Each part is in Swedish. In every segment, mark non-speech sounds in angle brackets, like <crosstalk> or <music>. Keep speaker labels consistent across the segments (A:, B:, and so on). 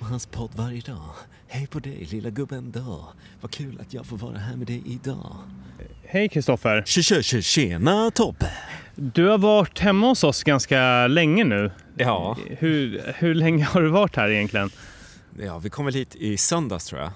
A: hans podd varje dag. Hej på dig lilla gubben då. Vad kul att jag får vara här med dig idag.
B: Hej Kristoffer!
A: Tje, tje, tje, tjena Tobbe!
B: Du har varit hemma hos oss ganska länge nu.
C: Ja,
B: Hur, hur länge har du varit här egentligen?
C: ja, vi kom väl hit i söndags tror jag.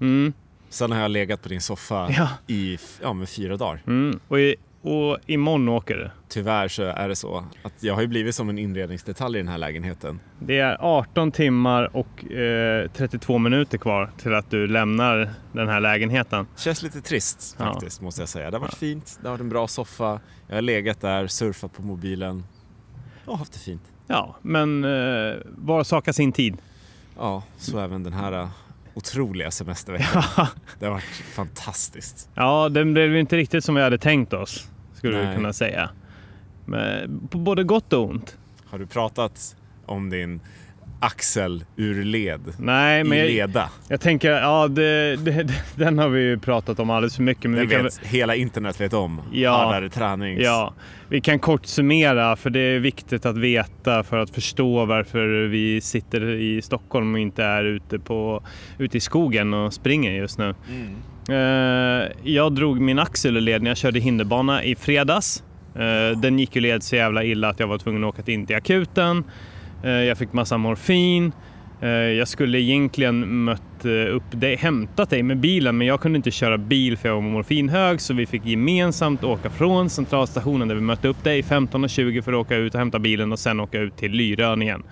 B: Mm,
C: Sen har jag legat på din soffa
B: Ja.
C: i f- ja, men fyra dagar.
B: mm. Och, i, och imorgon åker du.
C: Tyvärr så är det så att jag har ju blivit som en inredningsdetalj i den här lägenheten.
B: Det är 18 timmar och eh, 32 minuter kvar till att du lämnar den här lägenheten.
C: Känns lite trist
B: Ja.
C: faktiskt måste jag säga. Det har varit fint, det har varit en bra soffa. Jag har legat där, surfat på mobilen och haft det fint.
B: Ja, men eh, var sakar sin tid.
C: Ja, så även den här eh, otroliga semesterveckan.
B: <laughs>
C: Det har varit fantastiskt.
B: Ja, den blev ju inte riktigt som vi hade tänkt oss, skulle vi
C: Nej.
B: kunna säga. Men, på både gott och ont.
C: Har du pratat om din axel ur led?
B: Nej, men
C: I
B: jag,
C: leda.
B: jag tänker, ja, det, det, <laughs> den har vi ju pratat om alldeles för mycket. Men
C: Det
B: vi kan, väl-
C: vet hela internet vet om.
B: Ja.
C: Hårdare tränings...
B: Ja, vi kan kort summera för det är viktigt att veta för att förstå varför vi sitter i Stockholm och inte är ute, på, ute i skogen och springer just nu. Eh, jag drog min axel ur led när jag körde hinderbana i fredags. Eh, den gick ju led så jävla illa att jag var tvungen att åka in till akuten. Eh, jag fick massa morfin. Eh, jag skulle egentligen mött eh, upp dig, hämtat dig med bilen men jag kunde inte köra bil för jag var morfinhög så vi fick gemensamt åka från centralstationen där vi mötte upp dig 15.20 för att åka ut och hämta bilen och sen åka ut till Lyrön igen.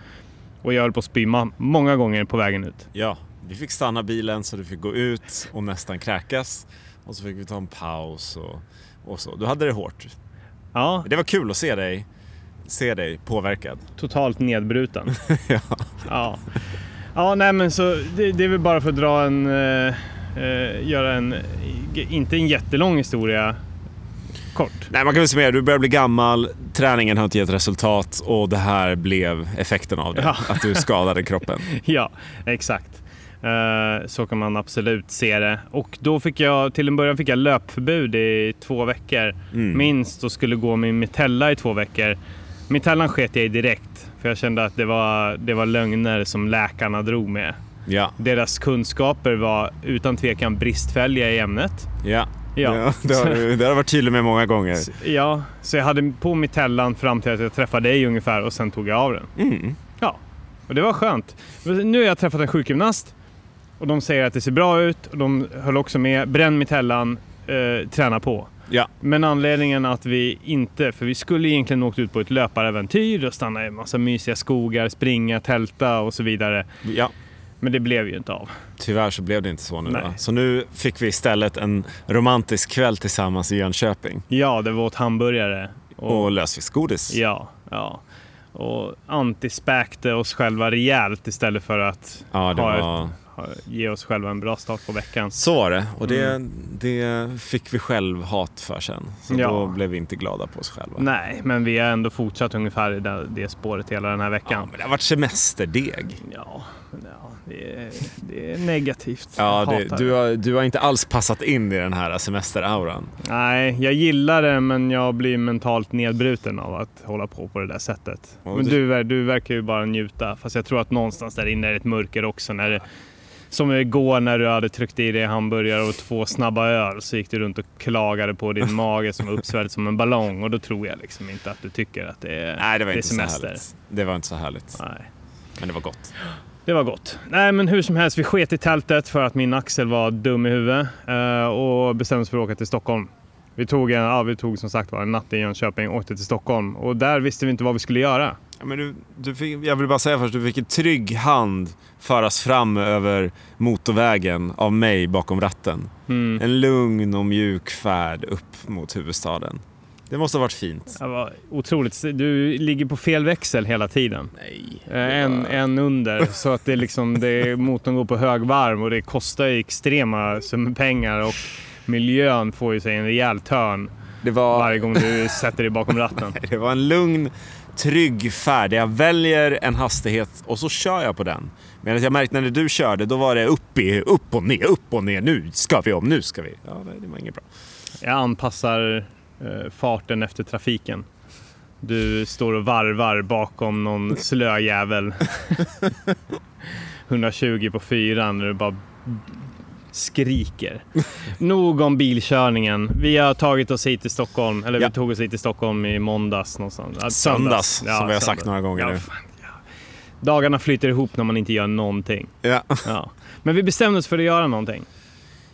B: Och jag höll på att spy ma- många gånger på vägen ut.
C: Ja, vi fick stanna bilen så du fick gå ut och nästan kräkas. Och så fick vi ta en paus och, och så. Du hade det hårt.
B: Ja,
C: Men Det var kul att se dig, se dig påverkad.
B: totalt <laughs> nedbruten. ja. Ja, nej men så det, det är väl bara för att dra en, eh, eh, göra en, g- inte en jättelång historia kort.
C: Nej, man kan väl summera. Du börjar bli gammal, träningen har inte gett resultat och det här blev effekten av det.
B: Ja.
C: Att du skadade
B: <laughs>
C: kroppen.
B: Ja, exakt. Eh, så kan man absolut se det. Och då fick jag, till en början fick jag löpförbud i två veckor
C: Mm.
B: minst och skulle gå med Mitella i två veckor. Mitellan sket jag i direkt för jag kände att det var, det var lögner som läkarna drog med.
C: Ja,
B: Deras kunskaper var utan tvekan bristfälliga i ämnet.
C: ja.
B: Ja.
C: det,
B: <laughs>
C: har, du- det har jag varit tydlig med många gånger.
B: Ja, så jag hade på mitellan fram till att jag träffade dig ungefär och sen tog jag av den.
C: Mm.
B: Ja, och det var skönt. Nu har jag träffat en sjukgymnast och de säger att det ser bra ut och de höll också med. Bränn mitellan, eh, träna på.
C: Ja.
B: Men anledningen att vi inte, för vi skulle egentligen åkt ut på ett löparäventyr och stanna i en massa mysiga skogar, springa, tälta och så vidare.
C: ja.
B: Men det blev ju inte av.
C: Tyvärr så blev det inte så nu.
B: Nej.
C: Va? Så nu fick vi istället en romantisk kväll tillsammans i Jönköping.
B: Ja, det var åt hamburgare.
C: Och, lösviktsgodis.
B: Ja, ja. Och antispäkte oss själva rejält istället för att
C: Ja, det
B: ha
C: var...
B: ha- ge oss själva en bra start på veckan.
C: Så var det. Och det, det fick vi själv hat för sen. Så
B: Mm. Ja.
C: då blev vi inte glada på oss själva.
B: Nej, men vi har ändå fortsatt ungefär i det, det spåret hela den här
C: Ja,
B: veckan.
C: men det har varit semesterdeg.
B: Ja, men ja det, är, det är negativt.
C: Ja,
B: Jag
C: det,
B: hatar
C: du, har, du har inte alls passat in i den här semesterauran.
B: Nej, jag gillar det men jag blir mentalt nedbruten av att hålla på på det där sättet.
C: Ja,
B: Men
C: det-
B: du, ver- du verkar ju bara njuta. Fast jag tror att någonstans där inne är det ett mörker också. När det, som igår när du hade tryckt i dig hamburgare och två snabba öl så gick du runt och klagade
C: <laughs>
B: på din mage som var uppsvälld som en ballong. Och då tror jag liksom inte att du tycker att det är,
C: Nej, det var
B: är
C: inte så
B: semester.
C: härligt. Det var inte så härligt.
B: Nej.
C: Men det var gott.
B: Det var gott. Nej, men hur som helst, vi sket i tältet för att min axel var dum i huvudet eh, och bestämde oss för att åka till Stockholm. Vi tog, en, ja, vi tog som sagt var en natt i Jönköping och åkte till Stockholm och där visste vi inte vad vi skulle göra.
C: Ja, men du, du fick, jag vill bara säga först, du fick en trygg hand föras fram över motorvägen av mig bakom ratten.
B: Mm.
C: En lugn och mjuk färd upp mot huvudstaden. Det måste ha varit fint.
B: Det var otroligt. Du ligger på fel växel hela tiden.
C: Nej.
B: Eh, En, en under så att det liksom, det, motorn går på högvarv och det kostar ju extrema summor pengar och miljön får ju sig en rejäl törn
C: Det var,
B: varje gång du sätter dig bakom ratten.
C: <laughs> det var en lugn, trygg färd. Jag väljer en hastighet och så kör jag på den. Medan jag märkte när du körde, då var det upp, i, upp och ner, upp och ner. Nu ska vi om, nu ska vi. Ja, nej, det var inget bra.
B: Jag anpassar eh, farten efter trafiken.
C: <laughs>
B: Du står och varvar bakom någon slö jävel. 120 på fyran när du bara skriker.
C: <laughs>
B: Nog om bilkörningen. Vi har tagit oss hit till Stockholm, eller
C: Ja.
B: vi tog oss hit till Stockholm i måndags någonstans. Ja,
C: Söndags, som vi har sagt några gånger
B: Ja,
C: nu.
B: fan, ja. Dagarna flyter ihop när man inte gör någonting.
C: Ja. <laughs>
B: Ja. Men vi bestämde oss för att göra någonting.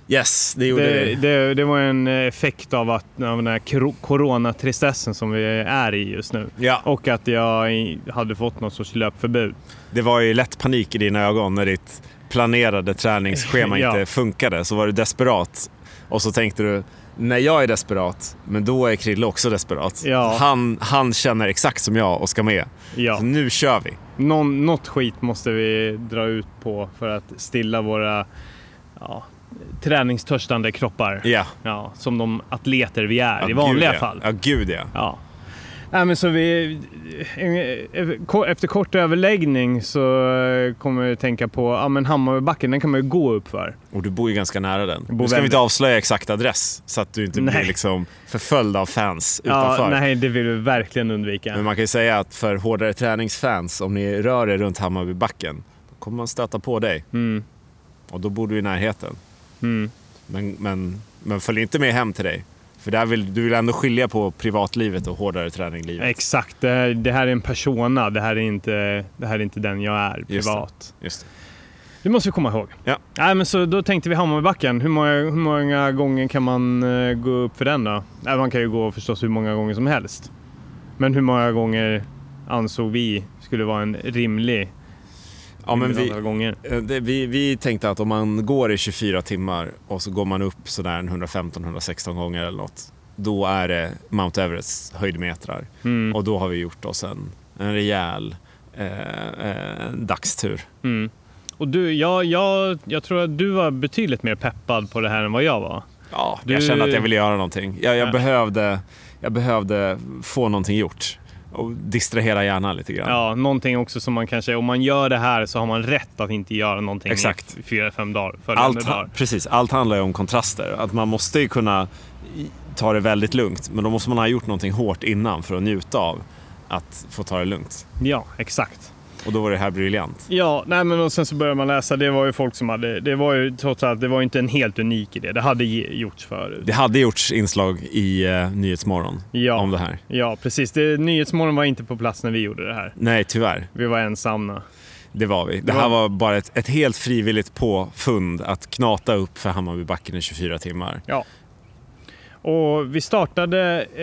C: Yes, det gjorde
B: Det,
C: vi.
B: det, det var en effekt av, att, av den här kro- coronatristessen som vi är i just nu.
C: Ja.
B: Och att jag i- hade fått någon sorts löpförbud.
C: Det var ju lätt panik i dina ögon när ditt planerade
B: <laughs>
C: träningsschema
B: Ja.
C: inte funkade. Så var du desperat och så tänkte du, när jag är desperat, men då är Krille också desperat.
B: Ja.
C: Han, han känner exakt som jag och ska med.
B: Ja.
C: Så nu kör vi.
B: Någon, något skit måste vi dra ut på för att stilla våra ja, träningstörstande kroppar.
C: Ja.
B: Ja, som de atleter vi är i
C: Ja,
B: vanliga
C: gud, ja.
B: fall.
C: Ja, gud ja.
B: Ja. Nej, men så vi, efter kort överläggning så kommer jag tänka på ja, men Hammarbybacken, den kan man ju gå upp för.
C: Och du bor ju ganska nära den.
B: bor
C: Nu ska vi
B: väldigt-
C: inte avslöja exakt adress så att du inte
B: Nej.
C: blir liksom förföljd av fans
B: Ja,
C: utanför.
B: nej, det vill vi verkligen undvika.
C: Men man kan ju säga att för hårdare träningsfans, om ni rör er runt Hammarbybacken, då kommer man stöta på dig.
B: Mm.
C: Och då bor du i närheten.
B: Mm.
C: Men, men, men följ inte med hem till dig. För där vill, du vill ändå skilja på privatlivet och hårdare träninglivet.
B: Exakt, det här, det här är en persona. Det här är inte, det här är inte den jag är privat.
C: Just det.
B: Det måste vi komma ihåg.
C: Ja.
B: Nej, men så då tänkte vi Hammarbybacken. Hur många, hur många gånger kan man eh, gå upp för den då? Nej, man kan ju gå förstås hur många gånger som helst. Men hur många gånger ansåg vi skulle vara en rimlig
C: Ja, men
B: rimlig
C: vi,
B: antal gånger?
C: eh, det, vi, vi tänkte att om man går i 24 timmar och så går man upp sådär en 115-116 gånger eller något. Då är det Mount Everests höjdmetrar.
B: Mm,
C: Och då har vi gjort oss en, en rejäl eh, eh, dagstur.
B: mm. Och du, jag, jag, jag tror att du var betydligt mer peppad på det här än vad jag var.
C: Ja,
B: Du-
C: jag kände att jag ville göra någonting. Jag, jag,
B: Ja.
C: behövde, jag behövde få någonting gjort och distrahera hjärnan lite grann.
B: Ja, någonting också som man kanske, om man gör det här så har man rätt att inte göra någonting
C: Exakt.
B: i fyra, fem dagar. följande
C: Allt,
B: dagar.
C: precis, allt handlar ju om kontraster. Att man måste ju kunna i- ta det väldigt lugnt, men då måste man ha gjort någonting hårt innan för att njuta av att få ta det lugnt.
B: Ja, exakt.
C: Och då var det här briljant.
B: Ja, nej men och sen så började man läsa. Det var ju folk som hade, det var ju trots allt, det var ju inte en helt unik idé. Det hade ge- gjorts förut.
C: Det hade gjorts inslag i eh, Nyhetsmorgon
B: Ja,
C: om det här.
B: ja precis. Det, Nyhetsmorgon var inte på plats när vi gjorde det här.
C: Nej, tyvärr.
B: Vi var ensamma.
C: Det var vi. Det
B: Ja.
C: här var bara ett, ett helt frivilligt påfund att knata upp för Hammarbybacken i 24 timmar.
B: Och vi startade eh,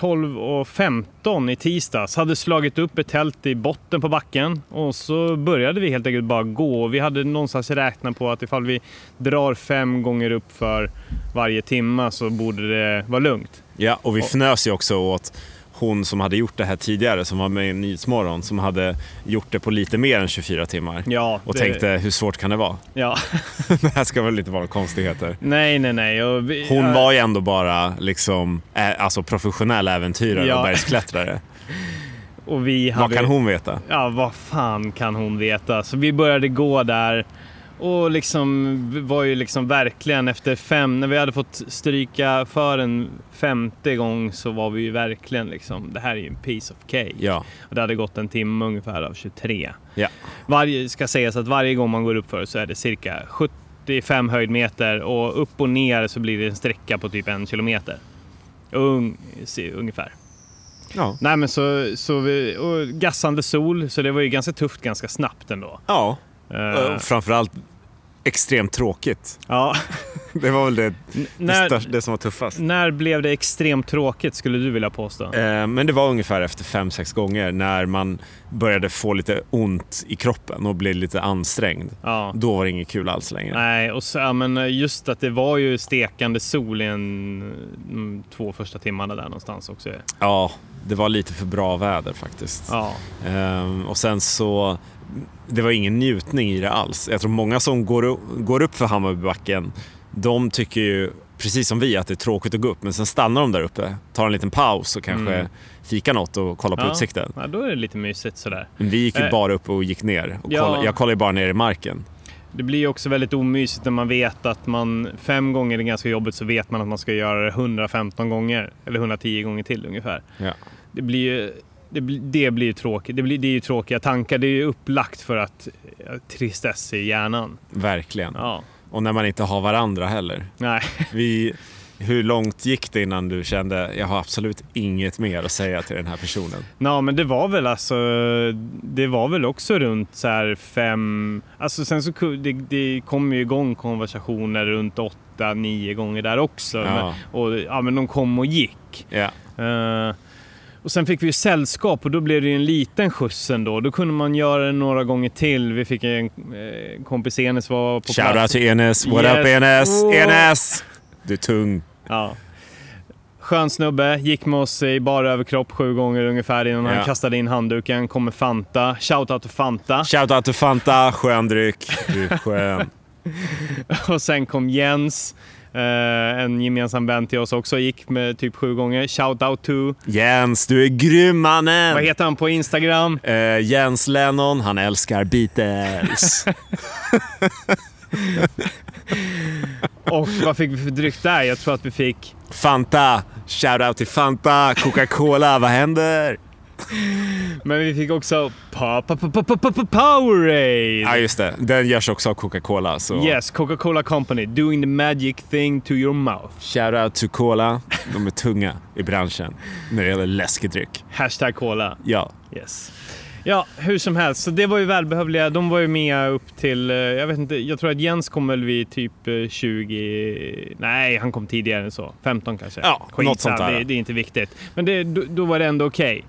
B: 12.15 i tisdags. Hade slagit upp ett tält i botten på backen. Och så började vi helt enkelt bara gå. Vi hade någonstans räknat på att ifall vi drar fem gånger upp för varje timma så borde det vara lugnt.
C: Ja, och vi fnös ju också åt hon som hade gjort det här tidigare, som var med i Nyhetsmorgon, som hade gjort det på lite mer än 24 timmar.
B: Ja,
C: Och
B: det-
C: tänkte, hur svårt kan det vara?
B: <laughs>
C: <laughs>
B: Ja.
C: det här ska väl inte vara konstigheter.
B: Nej, nej, nej. Och vi,
C: Hon
B: ja,
C: var ju ändå bara liksom, ä- alltså professionell äventyrare
B: Ja.
C: och
B: <laughs>
C: bergsklättrare.
B: Och vi hade,
C: Vad kan hon veta?
B: Ja, vad fan kan hon veta? Så vi började gå där och liksom vi var ju liksom verkligen efter fem, när vi hade fått stryka för en femte gång så var vi ju verkligen liksom, det här är ju en piece of cake.
C: Ja,
B: Och det hade gått en timme ungefär av 23.
C: ja.
B: Varje, ska sägas att varje gång man går upp för så är det cirka 75 höjdmeter och upp och ner så blir det en sträcka på typ en kilometer. Ung, se, ungefär.
C: Ja.
B: Nej men så, så vi, och gassande sol, så det var ju ganska tufft ganska snabbt ändå.
C: ja.
B: Eh,
C: Och framförallt extremt tråkigt. <laughs>
B: ja.
C: Det var väl det, det,
B: när,
C: största, det som var tuffast.
B: när blev det extremt tråkigt skulle du vilja påstå?
C: Eh, Men det var ungefär efter fem sex gånger när man började få lite ont i kroppen och blev lite ansträngd.
B: Ja.
C: Då var det inget kul alls längre.
B: Nej, och så, ja, men eh, just att det var ju stekande sol i en, de två första timmarna där någonstans också.
C: Ja, det var lite för bra väder faktiskt.
B: Ja,
C: Ehm, och sen så, det var ingen njutning i det alls. Jag tror många som går, u- går upp för Hammarbybacken, de tycker ju precis som vi att det är tråkigt att gå upp. Men sen stannar de där uppe, tar en liten paus och kanske
B: Mm.
C: fikar något och kollar på
B: Ja.
C: utsikten.
B: ja då är det lite mysigt sådär.
C: Men vi gick ju
B: Eh.
C: bara upp och gick ner. Och
B: Ja.
C: kollade, jag kollade ju bara ner i marken.
B: Det blir ju också väldigt omysigt när man vet att man fem gånger är ganska jobbigt så vet man att man ska göra det 115 gånger eller 110 gånger till ungefär.
C: Ja.
B: Det blir ju det, bli- det blir ju tråkigt. Det, blir, det är ju tråkiga tankar. Det är ju upplagt för att eh, tristess i hjärnan.
C: Verkligen.
B: Ja.
C: Och när man inte har varandra heller.
B: Nej.
C: Vi, hur långt gick det innan du kände jag har absolut inget mer att säga till den här personen?
B: Ja, men det var väl alltså, det var väl också runt så här fem, alltså sen så ku- det, det kom ju igång konversationer runt åtta, nio gånger där också.
C: Ja.
B: Men, och, ja, men de kom och gick.
C: Ja.
B: Eh, och sen fick vi ju sällskap och då blev det ju en liten skjuts ändå. Då kunde man göra det några gånger till. Vi fick en eh, kompis Enes var på plats.
C: Shoutout till Enes. What
B: Yes.
C: up Enes?
B: Oh.
C: Enes! Du är tung.
B: Ja. Skön snubbe, gick med oss i bara överkropp sju gånger ungefär innan
C: Ja.
B: han kastade in handduken. Kommer Fanta. Shoutout till Fanta. <laughs>
C: Shoutout till Fanta. Skön dryck. Du är skön.
B: Och sen kom Jens, eh, en gemensam vän till oss också, gick med typ sju gånger. Shout out to,
C: Jens, du är grym mannen!
B: vad heter han på Instagram?
C: Eh, Jens Lennon, han älskar
B: <laughs>
C: Beatles.
B: Och vad fick vi för dryck där? Jag tror att vi fick...
C: Fanta, shoutout till Fanta. Coca-Cola, vad händer?
B: Men vi fick också pa, pa, pa, pa, pa, pa, pa, Powerade!
C: Ja, just det. Den görs också av Coca-Cola. Så
B: Yes, Coca-Cola Company, doing the magic thing to your mouth.
C: shoutout till Cola. De är tunga i branschen när det gäller läskedryck.
B: Hashtag Cola.
C: Ja.
B: Yes. Ja, hur som helst, så det var ju välbehövliga. De var ju med upp till, eh, jag vet inte, jag tror att Jens kom väl vid typ eh, 20, nej han kom tidigare än så, 15 kanske.
C: Ja, något sånt där.
B: Det, det är inte viktigt. Men det, då, då var det ändå okej.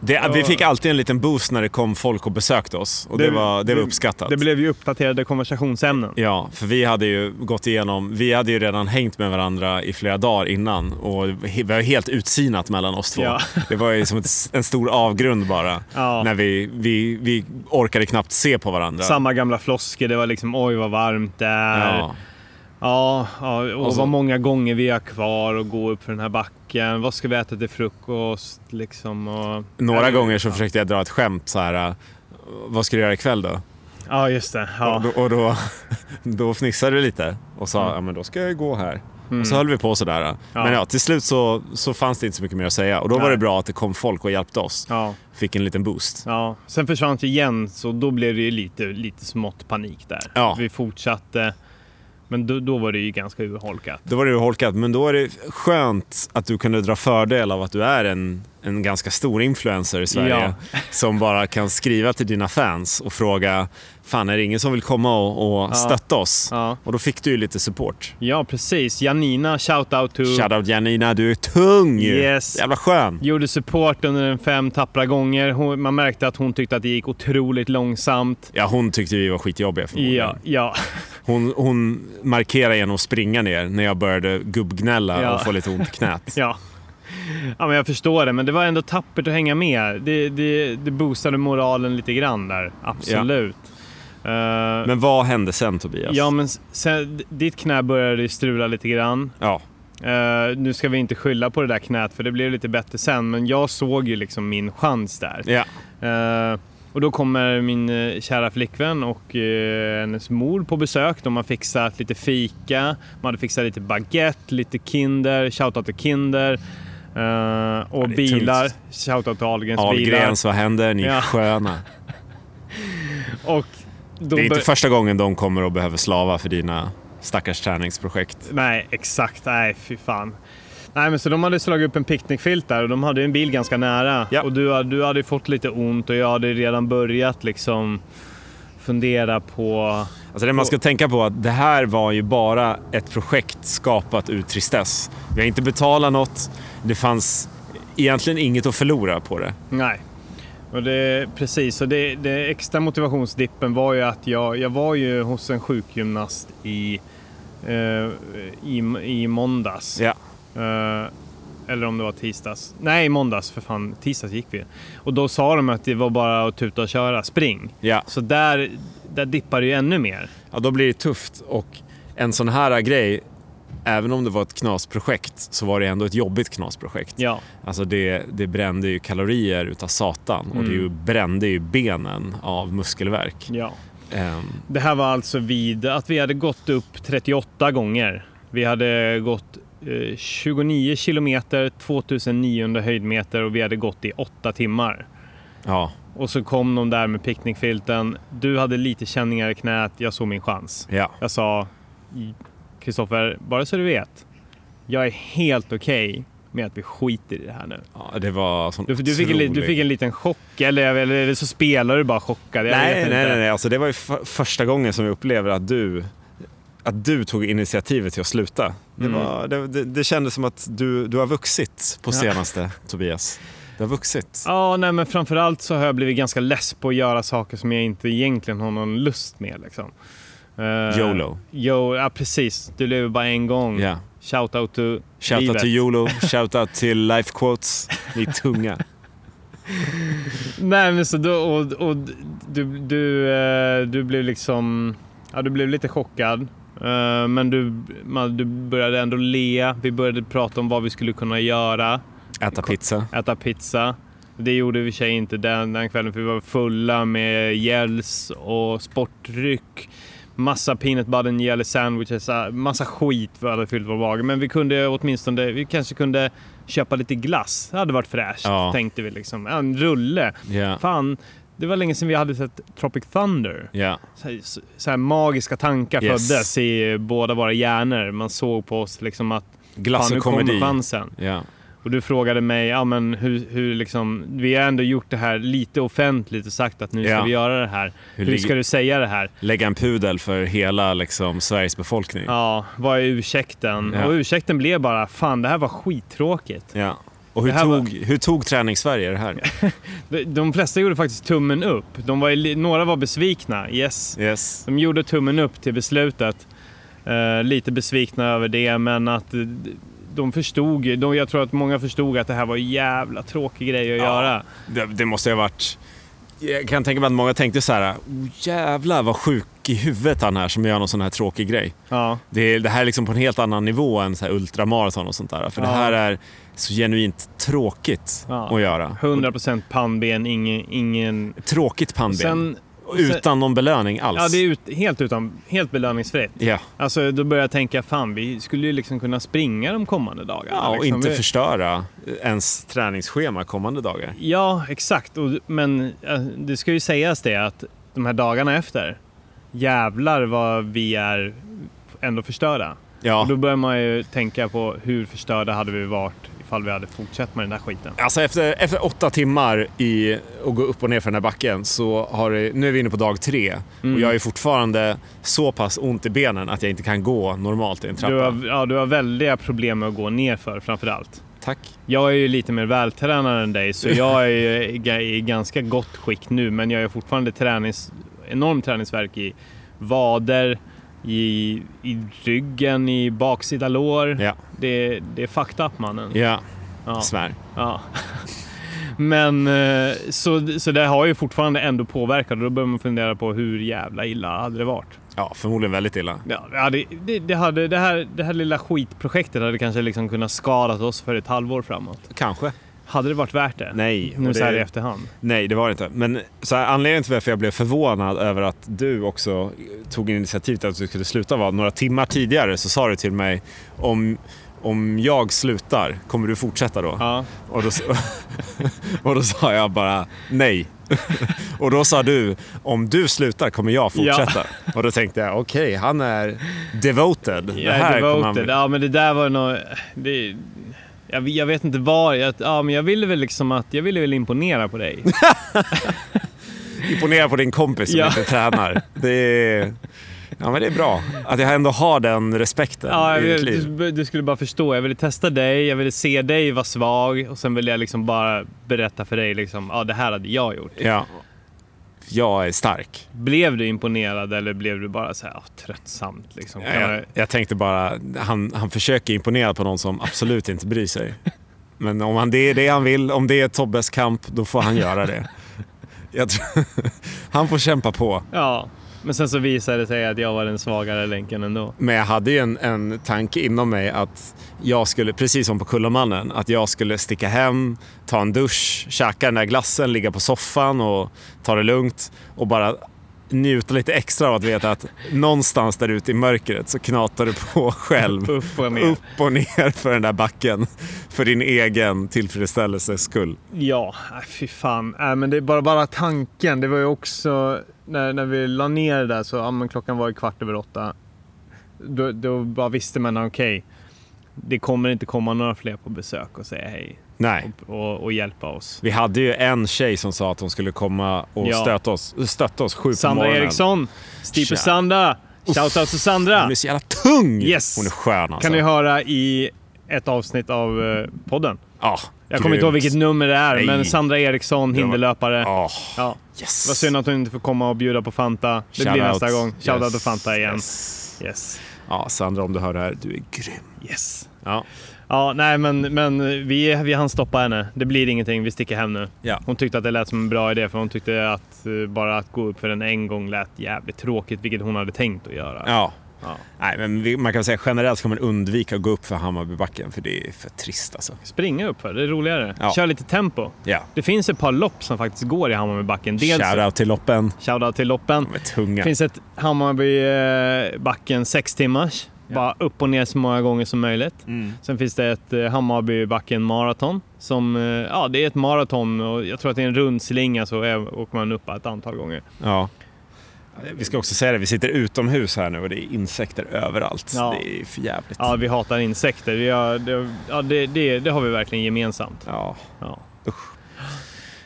C: Det, vi fick alltid en liten boost när det kom folk och besökte oss och det, var, det var uppskattat.
B: Det blev ju uppdaterade konversationsämnen.
C: Ja, för vi hade ju gått igenom, vi hade ju redan hängt med varandra i flera dagar innan och he- vi var helt utsinat mellan oss två.
B: Ja.
C: <laughs> Det var ju som ett, en stor avgrund bara.
B: Ja.
C: När vi, vi, vi orkade knappt se på varandra.
B: Samma gamla flosker, det var liksom oj vad varmt det är.
C: Ja.
B: Ja, ja och,
C: Och så-
B: vad många gånger vi har kvar att gå upp för den här backen. Vad ska vi äta till frukost liksom? Och...
C: Några
B: Ja,
C: gånger så försökte jag dra ett skämt så här. äh, Vad ska du göra ikväll då?
B: Ja, just det.
C: Och,
B: Ja. Mm.
C: då, och då, <laughs> då fnissade du lite och sa ja men då ska jag gå här. Och så höll vi på sådär. äh.
B: Ja.
C: Men ja, till slut så, så fanns det inte så mycket mer att säga och då var
B: Nej.
C: det bra att det kom folk och hjälpte oss.
B: Ja,
C: Fick en liten boost.
B: ja. Sen försvann ju Jens och då blev det ju lite, lite smått panik där.
C: Ja.
B: Vi fortsatte, men då, då var det ju ganska urholkat.
C: Då var det urholkat, men då är det skönt att du kunde dra fördel av att du är en, en ganska stor influencer i Sverige. <laughs> Som bara kan skriva till dina fans och fråga, fan är det ingen som vill komma och, och
B: Ja.
C: stötta oss?
B: Ja,
C: Och då fick du ju lite support.
B: ja precis. Janina, shout out to,
C: Shoutout Janina, du är tung ju.
B: Yes.
C: Jävla skön.
B: gjorde support under en fem tappra gånger. Hon, man märkte att hon tyckte att det gick otroligt långsamt.
C: Ja, hon tyckte vi var skitjobbiga förmodligen.
B: Ja, ja.
C: Hon, hon markerade genom att springa ner när jag började gubbgnälla
B: Ja.
C: och få lite ont i knät.
B: Ja. ja, men jag förstår det. Men det var ändå tappert att hänga med. Det, det, det boostade moralen lite grann där. Absolut. Eh,
C: Men vad hände sen Tobias?
B: Ja, men s- sen, ditt knä började ju strula lite grann.
C: ja.
B: Eh, nu ska vi inte skylla på det där knät för det blev lite bättre sen, men jag såg ju liksom min chans där.
C: ja.
B: Eh, och då kommer min eh, kära flickvän och eh, hennes mor på besök. De har fixat lite fika, man hade fixat lite baguette, lite Kinder, shoutout till Kinder. Eh, och
C: det är
B: bilar, shoutout till Ahlgrens bilar.
C: Ahlgrens, vad händer? Ni är
B: Ja.
C: sköna.
B: Och då
C: Det är inte
B: bör-
C: första gången de kommer och behöver slava för dina stackars träningsprojekt.
B: Nej, exakt. Nej, fy fan. Nej, men så de hade slagit upp en picknickfilt där och de hade ju en bil ganska nära.
C: Ja.
B: Och du, hade- du hade ju fått lite ont och jag hade redan börjat liksom fundera på...
C: Alltså det man ska tänka på är att det här var ju bara ett projekt skapat ur tristess. Vi har inte betalat något. Det fanns egentligen inget att förlora på det.
B: Nej. Och det, precis, och det, det extra motivationsdippen var ju att jag, jag var ju hos en sjukgymnast i, eh, i, i måndags.
C: Ja.
B: Eh, eller om det var tisdags. Nej, måndags för fan. Tisdags gick vi. Och då sa de att det var bara att tuta och köra. Spring.
C: Ja.
B: Så där, där dippar det ju ännu mer.
C: ja, då blir det tufft och en sån här grej, även om det var ett knasprojekt så var det ändå ett jobbigt knasprojekt.
B: Ja,
C: Alltså det, det brände ju kalorier utav satan och det ju brände ju benen av muskelvärk.
B: ja.
C: Ehm,
B: Det här var alltså vid att vi hade gått upp 38 gånger. Vi hade gått eh, 29 kilometer, 2900 höjdmeter och vi hade gått i åtta timmar.
C: Ja,
B: Och så kom de där med picknickfilten. Du hade lite känningar i knät, jag såg min chans.
C: ja.
B: Jag sa, Kristoffer, bara så du vet, jag är helt okej med att vi skiter i det här nu.
C: ja det var sån
B: Du, du, fick en, li- du
C: otrolig-
B: fick en liten chock, eller, eller, eller så spelar du bara chockad. Jag vet
C: Nej,
B: inte.
C: nej, nej, nej. Alltså, det var ju f- första gången som jag upplever att du, att du tog initiativet till att sluta. Det,
B: Mm.
C: var, det, det, det kändes som att du, du har vuxit på
B: Ja.
C: senaste, Tobias. Du har vuxit.
B: Ja, nej, men framförallt så har jag blivit ganska less på att göra saker som jag inte egentligen har någon lust med. Liksom. Eh,
C: YOLO.
B: Jo, ja, precis. Du lever bara en gång.
C: Ja.
B: Shout out to
C: Shoutout
B: livet.
C: till
B: <laughs>
C: YOLO, shoutout till Life Quotes. Ni är tunga.
B: Nej, men så då, och, och du, du, eh, du blev liksom, ja du blev lite chockad. Eh, Men du, man, du började ändå le. Vi började prata om vad vi skulle kunna göra.
C: Äta pizza.
B: Äta pizza. Det gjorde vi i och för sig inte den, den kvällen för vi var fulla med gels och sportdryck. Massa peanut butter and jelly sandwiches, äh, massa skit vi hade fyllt vår mage. Men vi kunde åtminstone, vi kanske kunde köpa lite glass. Det hade varit fräscht
C: Ja.
B: tänkte vi liksom. En rulle.
C: Ja.
B: Fan, det var länge sedan vi hade sett Tropic Thunder.
C: Ja.
B: Så här, så här magiska tankar
C: Yes.
B: föddes i båda våra hjärnor. Man såg på oss liksom att
C: Glass
B: fan, nu
C: och
B: kommer
C: komedi.
B: chansen.
C: Ja.
B: Och du frågade mig, ja men hur, hur liksom, vi har ändå gjort det här lite offentligt och sagt att nu ska
C: Ja.
B: vi göra det här.
C: Hur
B: Hur,
C: ligger-
B: ska du säga det här?
C: Lägga en pudel för hela liksom, Sveriges befolkning.
B: Ja, vad är ursäkten?
C: Ja.
B: Och ursäkten blev bara, fan det här var skittråkigt.
C: Ja. Och hur
B: Det här
C: tog,
B: var-
C: hur tog Träning-Sverige det här?
B: De, de flesta gjorde faktiskt tummen upp. De var, ju li- några var besvikna, yes.
C: Yes.
B: De gjorde tummen upp till beslutet. Eh, lite besvikna över det, men att eh, de förstod ju, de, jag tror att många förstod att det här var en jävla tråkig grej att
C: Ja.
B: göra.
C: Det, det måste ju ha varit... Jag kan tänka mig att många tänkte så här, oh, jävlar vad sjuk i huvudet han är som gör någon sån här tråkig grej.
B: Ja.
C: Det, är, det här är liksom på en helt annan nivå än så här ultramaraton och sånt där. För det
B: Ja.
C: här är så genuint tråkigt
B: Ja.
C: att göra.
B: 100% pannben, ingen, ingen
C: Tråkigt pannben.
B: Sen,
C: utan någon belöning alls.
B: ja, det är ut, helt, utan, helt belöningsfritt.
C: Ja.
B: Alltså, då börjar jag tänka, fan vi skulle ju liksom kunna springa de kommande dagarna.
C: Ja, och
B: liksom.
C: inte
B: Vi-
C: förstöra ens träningsschema kommande dagar.
B: Ja, exakt. Och, men eh, det ska ju sägas det att de här dagarna efter, jävlar vad vi är ändå förstörda.
C: Ja.
B: Och då börjar man ju tänka på hur förstörda hade vi varit ifall vi hade fortsatt med den där skiten.
C: Alltså efter, efter åtta timmar i att gå upp och ner för den här backen så har det, nu är vi inne på dag tre
B: Mm.
C: och jag är fortfarande så pass ont i benen att jag inte kan gå normalt i en trappa.
B: Du har, ja, du har väldiga problem med att gå nerför framförallt.
C: Tack.
B: Jag är ju lite mer vältränad än dig, så jag är ju ga- i ganska gott skick nu, men jag är fortfarande tränings, enorm träningsverk i vader, i, i ryggen, i baksida lår.
C: Ja,
B: Det, det är fucked up mannen.
C: ja.
B: Ja,
C: svär.
B: ja. <laughs> Men eh, så, så det har ju fortfarande ändå påverkat och då börjar man fundera på hur jävla illa hade det varit?
C: Ja, förmodligen väldigt illa.
B: Ja, det, hade- det, det, hade, det, här, det här lilla skitprojektet hade kanske liksom kunnat skadat oss för ett halvår framåt.
C: Kanske.
B: Hade det varit värt det?
C: Nej. och
B: Nu så här i
C: det,
B: efterhand.
C: nej, det var det inte. Men så här, anledningen till varför jag blev förvånad över att du också tog initiativet att du skulle sluta var att några timmar tidigare så sa du till mig om, om jag slutar, kommer du fortsätta då?
B: Ja.
C: Och då, <laughs> och då sa jag bara nej. <laughs> Och då sa du, om du slutar kommer jag fortsätta. Och då tänkte jag, okej, han är devoted. Det
B: Jag är
C: kommer
B: devoted.
C: han...
B: Ja, men det där var nog... Det, jag, jag vet inte var. Jag, ja, men jag ville väl liksom att... Jag ville väl imponera
C: <laughs>
B: på dig.
C: Imponera på din kompis som
B: Ja.
C: inte tränar. Det är... Ja, men det är bra att jag ändå har den respekten
B: Ja, jag
C: i mitt
B: ville,
C: liv.
B: du, du skulle bara förstå. Jag ville testa dig, jag ville se dig vara svag och sen ville jag liksom bara berätta för dig liksom, ja, det här hade jag gjort.
C: Ja. Jag är stark.
B: Blev du imponerad eller blev du bara så här, ja, tröttsamt liksom? Kan man-
C: Jag, jag tänkte bara, han, han försöker imponera på någon som absolut inte bryr sig. Men om han, det är det han vill, om det är Tobbes kamp, då får han göra det. Jag tror, <laughs> han får kämpa på.
B: Ja, men sen så visade det sig att jag var den svagare
C: <laughs>
B: länken ändå.
C: Men jag hade ju en, en tanke inom mig att jag skulle, precis som på Kullamannen, att jag skulle sticka hem, ta en dusch, käka den där glassen, ligga på soffan och ta det lugnt och bara njuta lite extra av att veta att någonstans där ute i mörkret så knatar du på <laughs> själv.
B: Upp och ner.
C: Upp och ner för den där backen. För din egen tillfredsställelses skull.
B: Ja, äh, fy fan. Äh, men det är bara, bara tanken. Det var ju också när, när vi la ner det där så ja, men klockan var ju kvart över åtta. Då, då bara visste man okej, det kommer inte komma några fler på besök och säga hej
C: Nej.
B: och, och, och hjälpa oss.
C: Vi hade ju en tjej som sa att hon skulle komma och
B: Ja.
C: stöta oss, stötta oss sju på
B: Sandra
C: morgonen.
B: Eriksson, Stipe
C: Tja.
B: Sandra, shoutout till Sandra.
C: Hon är så jävla tung!
B: Yes.
C: Hon är skön alltså.
B: Kan ni höra i ett avsnitt av eh, podden.
C: Ja,
B: Jag kommer inte ihåg
C: grymt.
B: vilket nummer det är,
C: Nej.
B: men Sandra Eriksson,
C: var-
B: hinderlöpare.
C: Ja,
B: Ja.
C: yes.
B: Vad synd att hon inte får komma och bjuda på Fanta. Det blir
C: Shoutout.
B: nästa gång. Shoutout
C: Yes.
B: till Fanta igen.
C: Yes.
B: Yes.
C: Ja, Sandra om du hör det här, du är grym.
B: Yes.
C: Ja.
B: Ja, nej men, men vi, vi hann stoppa henne. Det blir ingenting, vi sticker hem nu.
C: Ja.
B: Hon tyckte att det lät som en bra idé för hon tyckte att eh, bara att gå upp för den en gång lät jävligt tråkigt, vilket hon hade tänkt att göra.
C: Ja.
B: Ja.
C: Nej, men vi, man kan säga generellt ska man undvika att gå upp för Hammarbybacken för det är för trist alltså.
B: Springa upp för det är roligare.
C: Ja.
B: Kör lite tempo.
C: Ja.
B: Det finns ett par lopp som faktiskt går i Hammarbybacken. Dels
C: Shoutout till loppen.
B: shoutout
C: <laughs>
B: till loppen.
C: De är tunga.
B: Det finns ett Hammarbybacken sex timmars. Bara upp och ner så många gånger som möjligt.
C: Mm.
B: Sen finns det ett eh, Hammarbybacken maraton. Som, eh, ja, det är ett maraton och jag tror att det är en rundslinga så är- åker man upp ett antal gånger.
C: Ja. Vi ska också säga det, vi sitter utomhus här nu och det är insekter överallt.
B: Ja.
C: Det är för jävligt.
B: Ja, vi hatar insekter. Vi har, det, ja, det, det, det har vi verkligen gemensamt.
C: Ja.
B: Ja.
C: Ja,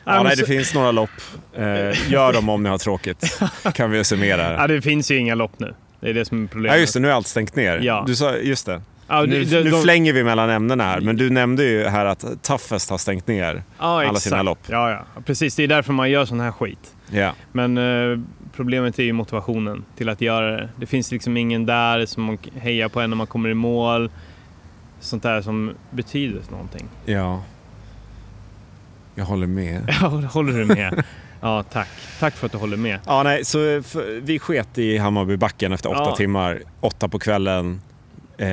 B: men
C: nej,
B: så-
C: det finns några lopp. Eh, gör dem om ni har
B: <laughs>
C: tråkigt, kan vi summera. här.
B: ja, det finns ju inga lopp nu. Det är det som är problemet.
C: Ja, just det, nu är allt stängt ner.
B: Ja.
C: Du sa, just det.
B: Ja,
C: Nu,
B: de- de-
C: nu flänger vi mellan ämnena här, men du nämnde ju här att Toughest har stängt ner.
B: ja,
C: alla
B: exakt.
C: sina lopp.
B: Ja, ja, precis. Det är därför man gör sån här skit.
C: Ja.
B: Men eh, problemet är ju motivationen till att göra det. Det finns liksom ingen där som man hejar på en när man kommer i mål. Sånt där som betyder någonting.
C: ja. Jag håller med.
B: Ja, <laughs> håller du med? Ja, tack. Tack för att du håller med.
C: Ja, nej, så eh, för, vi sket i Hammarbybacken efter åtta
B: Ja.
C: timmar, åtta på kvällen eh,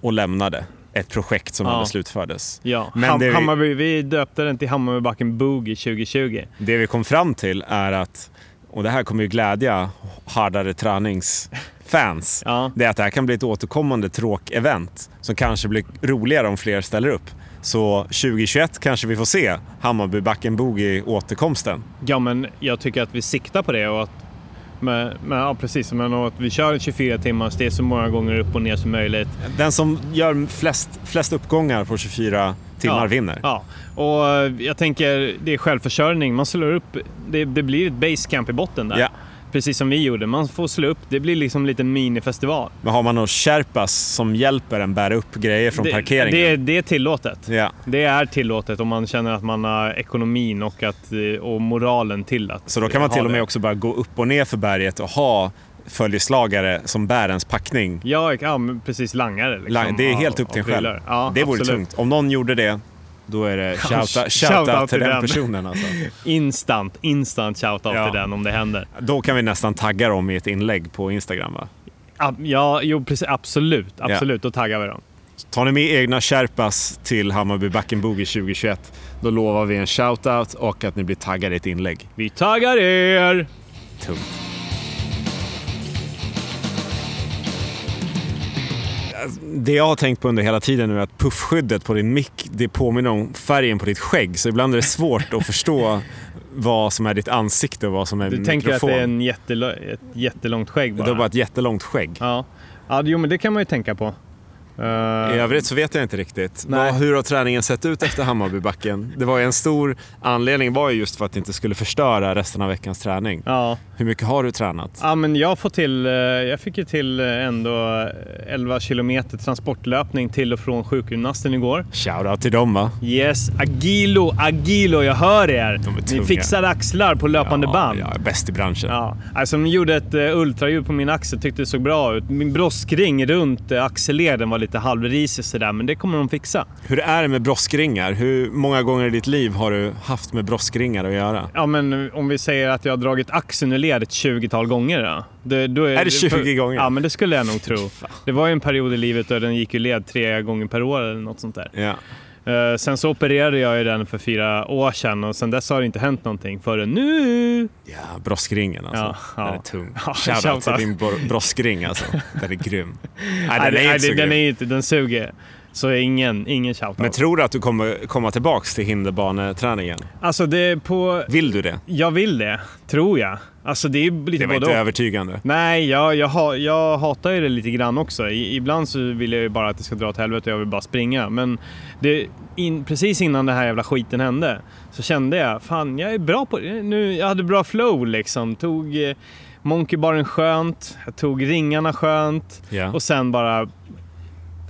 C: och lämnade ett projekt som
B: Ja.
C: aldrig slutfördes.
B: Ja,
C: Men
B: Ham-
C: det vi-
B: Hammarby, vi döpte den till Hammarbybacken Boogie 2020.
C: Det vi kom fram till är att, och det här kommer ju glädja hårdare träningsfans,
B: Ja,
C: det är att det här kan bli ett återkommande tråk-event som kanske blir roligare om fler ställer upp. Så 2021 kanske vi får se Hammarbybacken Boogie återkomsten.
B: ja men jag tycker att vi siktar på det och att men, men, ja, precis. Men att vi kör 24 timmar, så det är så många gånger upp och ner som möjligt.
C: Den som gör flest, flest uppgångar på 24 timmar
B: Ja.
C: vinner.
B: Ja, och eh, jag tänker det är självförsörjning. Man slår upp, det, det blir ett basecamp i botten där.
C: Ja.
B: Precis som vi gjorde. Man får slå upp, det blir liksom en liten minifestival.
C: Men har man någon Sherpas som hjälper en bära upp grejer från
B: det,
C: parkeringen?
B: Det, är- det är tillåtet.
C: Ja.
B: Det är tillåtet om man känner att man har ekonomin och, att, eh, och moralen till att
C: Så då kan man
B: ha
C: till och med
B: det.
C: också bara gå upp och ner för berget och ha följeslagare som bär ens packning.
B: Ja, ja men precis. Langare. Liksom,
C: Lang- Det är
B: Ja,
C: helt upp till en
B: och
C: själv.
B: prylar. Ja,
C: det vore
B: absolut.
C: tungt. Om någon gjorde det, då är det shouta,
B: shout
C: shouta
B: out
C: till den
B: till den.
C: personen. Alltså.
B: Instant, instant shout-out
C: Ja.
B: till den om det händer.
C: Då kan vi nästan tagga dem i ett inlägg på Instagram. Va?
B: Ab- Ja, jo, precis, absolut. Absolut, då taggar vi dem.
C: Tar ni med egna Sherpas till Hammarby Backen Boogie 2021, då lovar vi en shoutout och att ni blir taggade i ett inlägg.
B: Vi taggar er!
C: Tungt. Det jag har tänkt på under hela tiden nu är att puffskyddet på din mick, det påminner om färgen på ditt skägg. Så ibland är det svårt att förstå vad som är ditt ansikte och vad som är
B: Du
C: mikrofon.
B: tänker att det är en jättelö- ett jättelångt skägg bara?
C: Du har bara ett jättelångt skägg.
B: Ja. ja, jo men det kan man ju tänka på. Eh,
C: I övrigt så vet jag inte riktigt.
B: Nej.
C: Vad, hur har träningen sett ut efter Hammarbybacken? Det var ju en stor anledning var ju just för att det inte skulle förstöra resten av veckans träning.
B: ja.
C: Hur mycket har du tränat?
B: ja, men jag får till, eh, jag fick ju till eh, ändå eh, 11 kilometer transportlöpning till och från sjukgymnasten igår.
C: Shoutout till dem va?
B: Yes, agilo, agilo, jag hör er!
C: De är tunga.
B: Ni fixar axlar på löpande band.
C: Ja, jag är bäst i branschen.
B: Ja, alltså de gjorde ett eh, ultraljud på min axel, tyckte det såg bra ut. Min broskring runt eh, axelleden var lite halvrisig sådär, men det kommer de fixa.
C: Hur är det med broskringar? Hur många gånger i ditt liv har du haft med broskringar att göra?
B: Ja, men om vi säger att jag har dragit axeln ur led ett 20-tal gånger då. Det, då
C: Är det 20 gånger?
B: Ja, men det skulle jag nog tro. Det var ju en period i livet då den gick ur led tre gånger per år eller något sånt där.
C: Ja.
B: Eh, sen så opererade jag ju den för fyra år sedan och sen dess har det inte hänt någonting förrän nu.
C: Ja, broskringen alltså.
B: Ja, ja.
C: Den är tung.
B: Ja,
C: Shoutout till
B: shoutout.
C: din bro- broskring alltså. Den är
B: <laughs>
C: grym. Nej, den
B: Nej,
C: är
B: nej,
C: inte så
B: den,
C: grym.
B: är inte, den suger. Så ingen, ingen shoutout.
C: Men tror du att du kommer komma tillbaks till hinderbaneträningen?
B: alltså det är på...
C: Vill du det?
B: Jag vill det, tror jag. Alltså det är ju lite
C: Det var
B: både
C: inte
B: och.
C: övertygande.
B: Nej, jag, jag, ha, jag hatar ju det lite grann också. I, ibland så vill jag ju bara att det ska dra åt helvete och jag vill bara springa. Men det, in, precis innan den här jävla skiten hände så kände jag, fan jag är bra på det. Nu, jag hade bra flow liksom. Tog eh, monkeybaren skönt, jag tog ringarna skönt
C: Ja.
B: och sen bara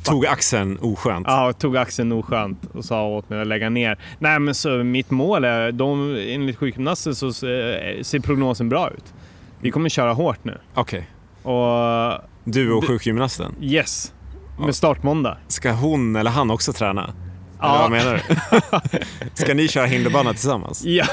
C: Tog axeln oskönt.
B: Ja, och tog axeln oskönt och sa åt mig att lägga ner. Nej, men så mitt mål är, de, enligt sjukgymnasten så ser ser prognosen bra ut. Vi kommer köra hårt nu.
C: Okej.
B: Och
C: Du och
B: Du-
C: sjukgymnasten.
B: yes,
C: Ja. <laughs>
B: med startmåndag.
C: Ska hon eller han också träna? Eller
B: Ja.
C: vad menar du?
B: <laughs>
C: Ska ni köra hinderbana tillsammans?
B: Ja.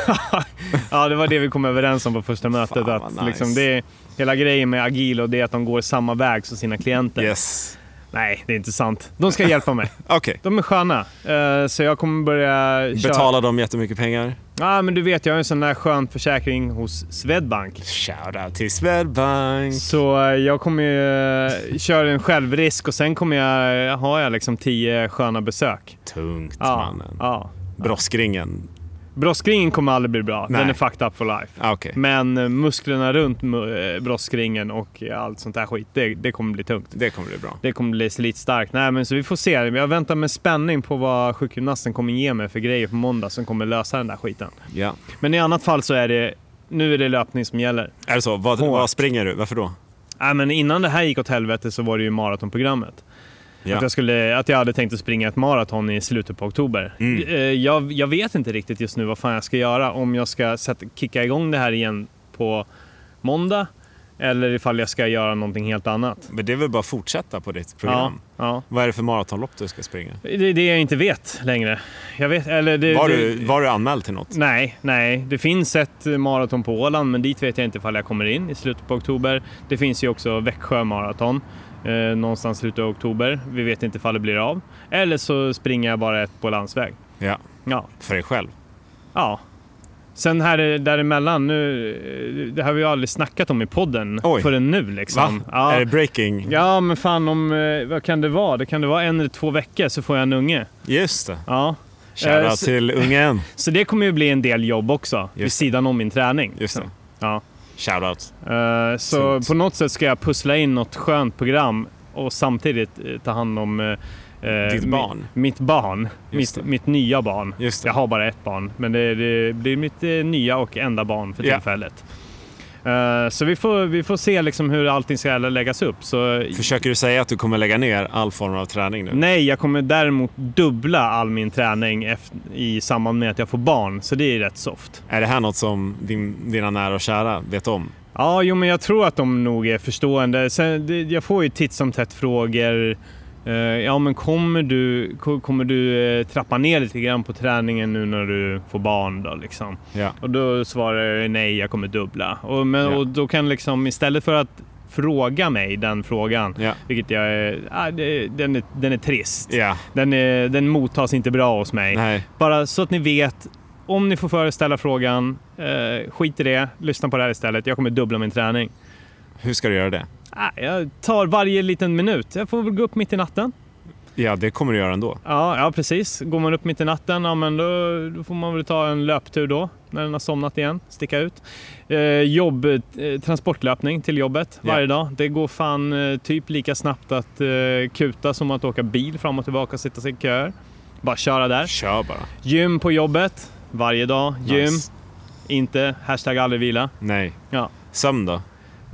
B: ja, det var det vi kom överens om på första mötet.
C: vad
B: att
C: nice.
B: liksom det, hela grejen med Agilo det är att de går samma väg som sina klienter.
C: Yes.
B: Nej, det är inte sant. De ska
C: <laughs>
B: hjälpa mig.
C: Okej.
B: De är sköna. Eh, Så jag kommer börja köra.
C: Betalar de jättemycket pengar?
B: Ja, men du vet, jag har en sån där skön försäkring hos Swedbank.
C: Shoutout till Swedbank.
B: Så eh, jag kommer ju eh, köra en självrisk och sen kommer jag ha jag liksom tio sköna besök.
C: Tungt
B: Ja,
C: mannen.
B: ja.
C: Broskringen.
B: Broskringen kommer aldrig bli bra.
C: Nej.
B: Den är fucked up for life.
C: Ah, Okej.
B: Men eh, musklerna runt mu- eh, broskringen och allt sånt där skit, det, det kommer bli tungt.
C: Det kommer bli bra.
B: Det kommer bli slitstarkt. Nej, men så vi får se. Jag väntar med spänning på vad sjukgymnasten kommer ge mig för grejer på måndag som kommer lösa den där skiten.
C: Ja.
B: Men i annat fall så är det, nu är det löpning som gäller.
C: Är det så? Vad,
B: Hårt.
C: vad springer du? Varför då?
B: Nej, men innan det här gick åt helvete så var det ju maratonprogrammet.
C: Ja.
B: Att, jag skulle, att jag hade tänkt att springa ett maraton i slutet på oktober.
C: Mm.
B: Eh, Jag, jag vet inte riktigt just nu vad fan jag ska göra. Om jag ska sätta, kicka igång det här igen på måndag eller ifall jag ska göra någonting helt annat.
C: Men det är väl bara att fortsätta på ditt program?
B: Ja,
C: Vad är det för maratonlopp du ska springa?
B: ja. Det är det jag inte vet längre. Jag vet, eller det,
C: Var
B: det,
C: du, var du anmäld till något?
B: Nej, nej. Det finns ett maraton på Åland, men dit vet jag inte ifall jag kommer in i slutet på oktober. Det finns ju också Växjö maraton eh, någonstans i slutet av oktober. Vi vet inte ifall det blir av. Eller så springer jag bara ett på landsväg.
C: Ja,
B: Ja.
C: för dig själv.
B: ja. Sen här eh, däremellan, nu, eh, det här har vi ju aldrig snackat om i podden
C: Oj.
B: förrän nu liksom.
C: Är
B: Ja.
C: det breaking?
B: ja, men fan om, eh, vad kan det vara? Det kan det vara en eller två veckor så får jag en unge.
C: Just det.
B: Ja.
C: Shoutout
B: Eh, så-
C: till ungen.
B: Så det kommer ju bli en del jobb också, vid
C: Just
B: sidan om min träning.
C: Just det.
B: Ja.
C: Shoutout.
B: Eh, Så
C: Sunt.
B: på något sätt ska jag pussla in något skönt program och samtidigt eh, ta hand om eh, eh,
C: Ditt
B: mi-
C: barn.
B: mitt barn.
C: Just
B: Mitt,
C: det.
B: mitt nya barn.
C: Just det.
B: Jag har bara ett barn, men det, det blir mitt eh, nya och enda barn för
C: Ja.
B: tillfället. Eh, Så vi får, vi får se liksom hur allting ska läggas upp. Så,
C: Försöker du säga att du kommer lägga ner all form av träning nu?
B: nej, jag kommer däremot dubbla all min träning efter, i samband med att jag får barn, så det är rätt soft.
C: Är det här något som din, dina nära och kära vet om?
B: Ja, jo, men jag tror att de nog är förstående. Sen, det, jag får ju titt som tätt frågor. Eh, ja, men kommer du, ko- kommer du eh, trappa ner lite grann på träningen nu när du får barn då liksom?
C: Ja.
B: Och då svarar jag nej, jag kommer dubbla. Och, men,
C: Ja.
B: och då kan liksom istället för att fråga mig den frågan,
C: Ja.
B: vilket jag är, ah, det, den är, den är trist.
C: Ja.
B: Den, är, den mottas inte bra hos mig.
C: Nej.
B: Bara så att ni vet, om ni får föreställa frågan, eh, skit i det, lyssna på det här istället. Jag kommer dubbla min träning.
C: Hur ska du göra det?
B: Ah, jag tar varje liten minut. Jag får väl gå upp mitt i natten.
C: Ja, det kommer du göra ändå.
B: Ja, ja precis. Går man upp mitt i natten, ja, men då, då får man väl ta en löptur då, när den har somnat igen. Sticka ut. Eh, jobb, eh, transportlöpning till jobbet
C: Ja.
B: varje dag. Det går fan eh, typ lika snabbt att eh, kuta som att åka bil fram och tillbaka och sitta sig i köer. Bara köra där.
C: Kör bara.
B: Gym på jobbet, varje dag. Gym.
C: Nice.
B: Inte hashtag aldrig vila.
C: Nej.
B: Ja.
C: Sömn då?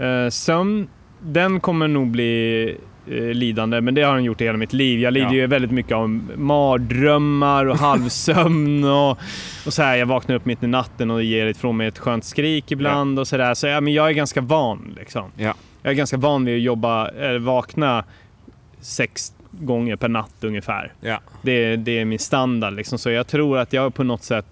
B: Eh, sömn, den kommer nog bli eh, lidande, men det har den gjort i hela mitt liv. Jag lider
C: Ja.
B: ju väldigt mycket av
C: <laughs>
B: mardrömmar och halvsömn och, och så här. Jag vaknar upp mitt i natten och ger ifrån mig ett skönt skrik ibland och så där. Så ja, men jag är ganska van liksom.
C: Ja.
B: Jag är ganska van vid att jobba, eller vakna sex gånger per natt ungefär.
C: Ja.
B: Det, är- det är min standard liksom. Så jag tror att jag på något sätt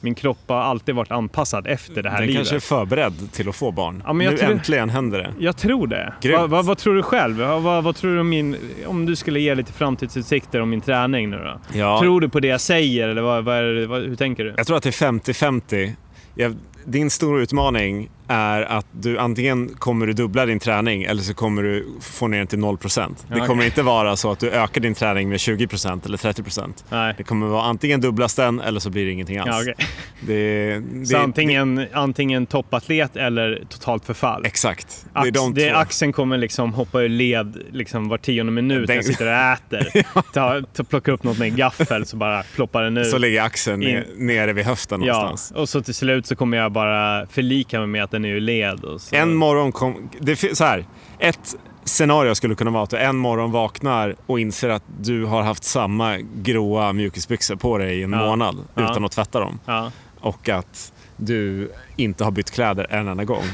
B: Min kropp har alltid varit anpassad efter det här
C: Den
B: livet.
C: kanske är förberedd till att få barn.
B: Ja, men jag
C: nu
B: tror-
C: äntligen händer det.
B: Jag tror det.
C: Grymt.
B: Vad- vad- vad tror du själv? Vad vad- vad tror du om, min, om du skulle ge lite framtidsutsikter om min träning nu då?
C: Ja.
B: Tror du på det jag säger eller vad, vad är det, vad, hur tänker du?
C: Jag tror att det är 50-50. Jag- Din stora utmaning är att du antingen kommer du dubbla din träning eller så kommer du få ner den till 0%.
B: Ja,
C: Det kommer inte vara så att du ökar din träning med 20% eller 30%.
B: Nej.
C: Det kommer vara antingen dubblas den eller så blir det ingenting alls.
B: Ja, okej.
C: det, det,
B: Så antingen, antingen toppatlet eller totalt förfall.
C: det- Exakt.
B: Ax,
C: det är de
B: det,
C: två.
B: axeln kommer liksom hoppa ur led liksom var tionde minut när
C: Den-
B: jag sitter
C: <laughs>
B: och äter. ta, ta, plocka upp något med en gaffel så bara ploppar den ut.
C: Så ligger axeln ner, nere vid höften
B: ja,
C: någonstans.
B: och så till slut så kommer jag bara förlika mig med att den är ur led. Och så.
C: En morgon kom... Det, fi- så här, ett scenario skulle kunna vara att du en morgon vaknar och inser att du har haft samma gråa mjukisbyxor på dig i en
B: Ja.
C: månad
B: Ja.
C: utan att tvätta dem.
B: ja,
C: Och att du inte har bytt kläder en enda gång.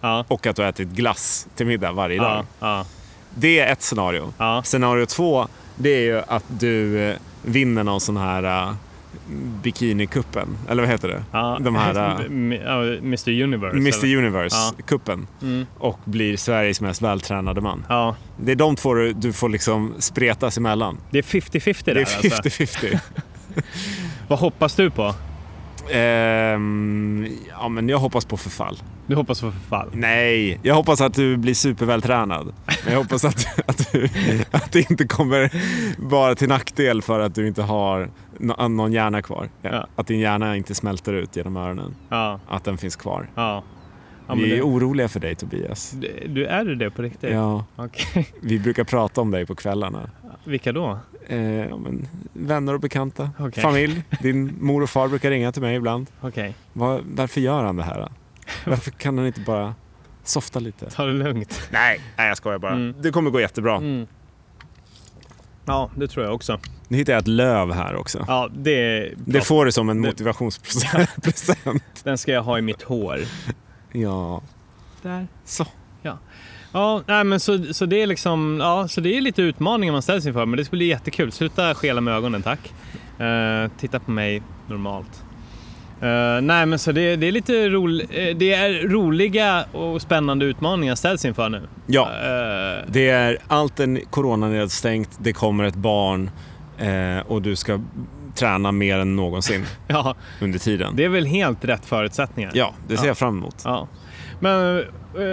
B: ja,
C: Och att du har ätit glass till middag varje dag.
B: ja, ja,
C: Det är ett scenario.
B: ja.
C: Scenario två, det är ju att du eh, vinner någon sån här uh, bikinikuppen. Eller vad heter det?
B: Ja,
C: De här... eh,
B: M- ja, Mr Universe.
C: Mr
B: eller? Ja.
C: Universe-kuppen
B: Mm.
C: och blir Sveriges mest vältränade man.
B: Ja,
C: Det är de två du, du får liksom spretas emellan.
B: det är 50-50 där
C: Det är
B: alltså.
C: 50-50.
B: Vad hoppas du på?
C: Ehm, ja, men jag hoppas på förfall.
B: Du hoppas på förfall?
C: Nej, jag hoppas att du blir supervältränad. Men jag hoppas att, <laughs> att, du, att det inte kommer bara till nackdel för att du inte har nå- någon hjärna kvar.
B: Ja.
C: Att din hjärna inte smälter ut genom öronen.
B: Ja,
C: Att den finns kvar.
B: ja. ja men
C: Vi är
B: du,
C: oroliga för dig Tobias.
B: du- du, är du det på riktigt?
C: Ja,
B: Okej. <laughs>
C: vi brukar prata om dig på kvällarna.
B: Vilka då?
C: Eh, ja, men, vänner och bekanta,
B: Okej.
C: familj. Din mor och far brukar ringa till mig ibland.
B: Okej,
C: Vad- varför gör han det här?
B: <laughs>
C: då? Varför kan han inte bara softa lite?
B: ta det lugnt.
C: Nej, nej jag skojar bara.
B: Mm.
C: Det kommer gå jättebra.
B: Mm. Ja, det tror jag också.
C: Nu hittar jag ett löv här också.
B: Ja, det är bra.
C: Det får du som en
B: Det- <laughs>
C: motivationspresent.
B: Den ska jag ha i mitt hår.
C: ja,
B: Där.
C: så.
B: Ja, nej, men så, så det är liksom, ja, så det är lite utmaningar man ställs inför, men det skulle bli jättekul. Sluta skela med ögonen, tack. Eh, titta på mig normalt. Eh, nej, men så det, det är lite roligt. det är roliga och spännande utmaningar jag ställs inför nu.
C: Ja,
B: Eh,
C: det är allt en coronanedstängt, det kommer ett barn eh, och du ska träna mer än
B: <laughs>
C: någonsin
B: ja,
C: under tiden.
B: det är väl helt rätt förutsättningar.
C: Ja, det ser
B: Ja.
C: jag fram emot.
B: Ja. Men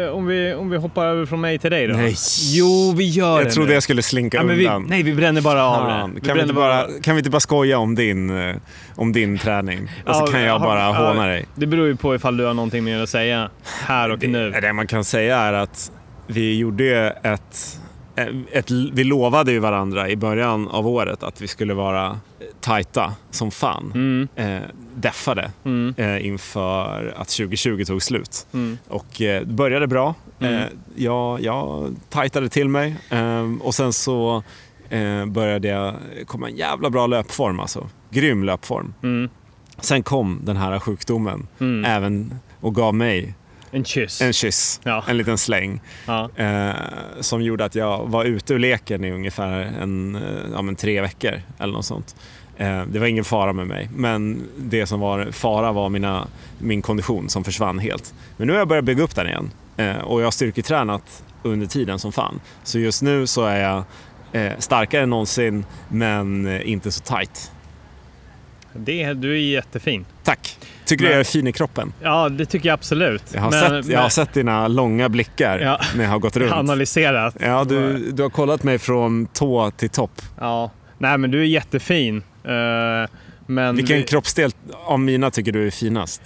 B: eh, om, vi, om vi hoppar över från mig till dig då?
C: Nej.
B: Jo, vi gör det
C: Jag trodde
B: nu.
C: jag skulle slinka
B: ja, men vi,
C: undan.
B: Nej, vi bränner bara av
C: Fan,
B: det.
C: kan, vi
B: bränner
C: inte bara, kan vi inte bara skoja om din, eh, om din träning? Och så
B: Ja,
C: kan jag
B: har-
C: bara
B: ja,
C: håna dig.
B: Det beror ju på ifall du har någonting mer att säga här och nu.
C: Det, det man kan säga är att vi gjorde ju ett, eh, ett... Vi lovade ju varandra i början av året att vi skulle vara eh, tajta som fan.
B: Mm,
C: Eh, deffade
B: mm,
C: eh, inför att 2020 tog slut.
B: mm.
C: Och eh, det började bra.
B: Mm.
C: Eh, jag, jag tajtade till mig eh, och sen så eh, började jag komma en jävla bra löpform alltså. Grym löpform.
B: Mm,
C: Sen kom den här sjukdomen
B: mm.
C: även och gav mig
B: En kyss.
C: en kyss,
B: Ja,
C: en liten släng.
B: ja,
C: Eh, som gjorde att jag var ute ur leken i ungefär en, eh, ja, men tre veckor eller något sånt. Eh, det var ingen fara med mig, men det som var fara var mina, min kondition som försvann helt. Men nu har jag börjat bygga upp den igen eh, och jag har styrketränat under tiden som fan. Så just nu så är jag eh, starkare än någonsin, men eh, inte så tight.
B: det, du är jättefin.
C: Tack! Tycker du
B: Men-
C: jag är fin i kroppen?
B: Ja, det tycker jag absolut.
C: Jag har, sett, jag har sett dina långa blickar
B: Ja.
C: när jag har gått runt.
B: analyserat.
C: Ja, du, du har kollat mig från tå till topp.
B: Ja. Nej, men du är jättefin. Eh, men
C: Vilken
B: vi-
C: kroppsdel av mina tycker du är finast?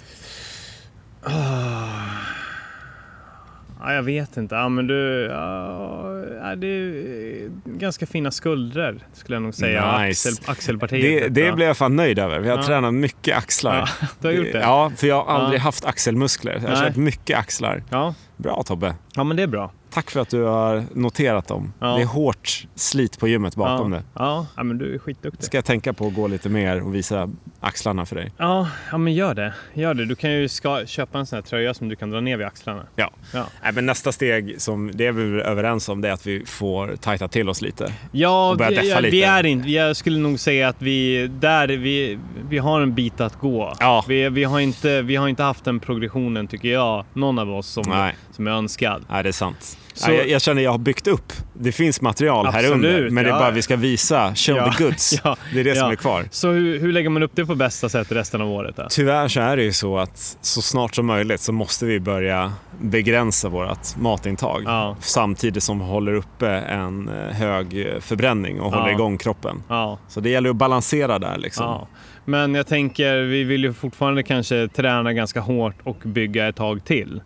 B: ja, jag vet inte. Ja, men du... Ja, det är ganska fina skuldror, skulle jag nog säga.
C: Nice.
B: Axel, axelpartiet.
C: Det,
B: vet
C: det
B: jag.
C: blev jag fan nöjd över. Vi har
B: Ja.
C: tränat mycket axlar.
B: Ja, du har gjort det?
C: Ja, för jag har aldrig
B: Ja.
C: haft axelmuskler. Jag har
B: Nej.
C: kört mycket axlar.
B: Ja.
C: Bra Tobbe.
B: Ja, men det är bra.
C: Tack för att du har noterat dem.
B: Ja.
C: Det är hårt slit på gymmet bakom
B: ja.
C: det.
B: Ja. ja, men du är skitduktig.
C: Ska jag tänka på att gå lite mer och visa axlarna för dig?
B: Ja, ja, men gör det. Gör det. Du kan ju ska, köpa en sån här tröja som du kan dra ner vid axlarna.
C: Ja.
B: Ja.
C: Nej, men nästa steg, som det är vi överens om, det är är att vi får tajta till oss lite.
B: Ja,
C: Och börja
B: vi-
C: deffa
B: ja, vi
C: lite.
B: är inte, jag skulle nog säga att vi, där, är vi, vi har en bit att gå.
C: Ja.
B: Vi, vi, har inte, vi har inte haft den progressionen, tycker jag, någon av oss som,
C: Nej.
B: som är önskad.
C: Nej, det är sant.
B: Så-
C: Nej, jag, jag känner jag har byggt upp. Det finns material här
B: Absolut,
C: under, men det är
B: ja.
C: bara vi ska visa, show
B: Ja,
C: the goods.
B: <laughs> ja,
C: Det är det som
B: ja.
C: är kvar.
B: Så hur, hur lägger man upp det på bästa sätt resten av året? Då?
C: Tyvärr så är det ju så att så snart som möjligt så måste vi börja begränsa vårt matintag
B: Ja.
C: samtidigt som vi håller uppe en eh, hög eh, förbränning och
B: Ja.
C: håller igång kroppen.
B: Ja,
C: Så det gäller att balansera där liksom.
B: ja. Men jag tänker, vi vill ju fortfarande kanske träna ganska hårt och bygga ett tag till.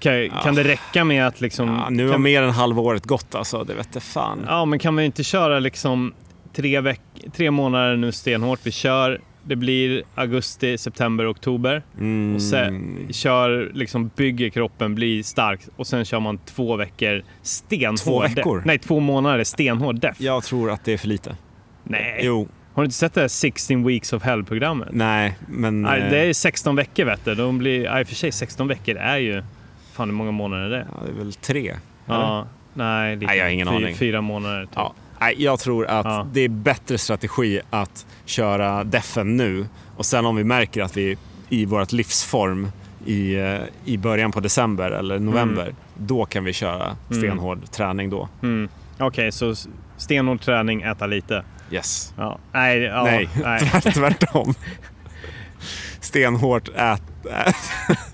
B: Kan, kan det räcka med att liksom...
C: Ja, nu har
B: kan,
C: mer än halva året gått alltså, det vete fan.
B: ja, men kan man inte köra liksom tre, veck, tre månader nu stenhårt? Vi kör, det blir augusti, september, oktober.
C: Mm.
B: Och sen kör, liksom bygger kroppen, blir stark och sen kör man två veckor stenhård.
C: Två
B: def-
C: veckor?
B: Nej, två månader stenhård def.
C: Jag tror att det är för lite.
B: Nej.
C: Jo,
B: Har du inte sett det här 16 weeks of hell-programmet?
C: nej, men...
B: Nej,
C: eh,
B: det är 16 veckor vet du. De blir, ja, i och för sig 16 veckor är ju, fan hur många månader är det?
C: ja, det är väl tre.
B: Ja, nej, lite,
C: Nej, jag har ingen aning.
B: fyra månader. Typ.
C: Ja. Nej, jag tror att
B: Ja.
C: det är bättre strategi att köra defen nu och sen om vi märker att vi är i vårt livsform i, eh, i början på december eller
B: Mm.
C: november, då kan vi köra stenhård träning då.
B: Mm. Okej, så s- stenhård träning, äta lite.
C: Yes.
B: Ja. Nej, ja,
C: nej, <laughs>
B: nej.
C: tvärtom. Stenhårt, ät,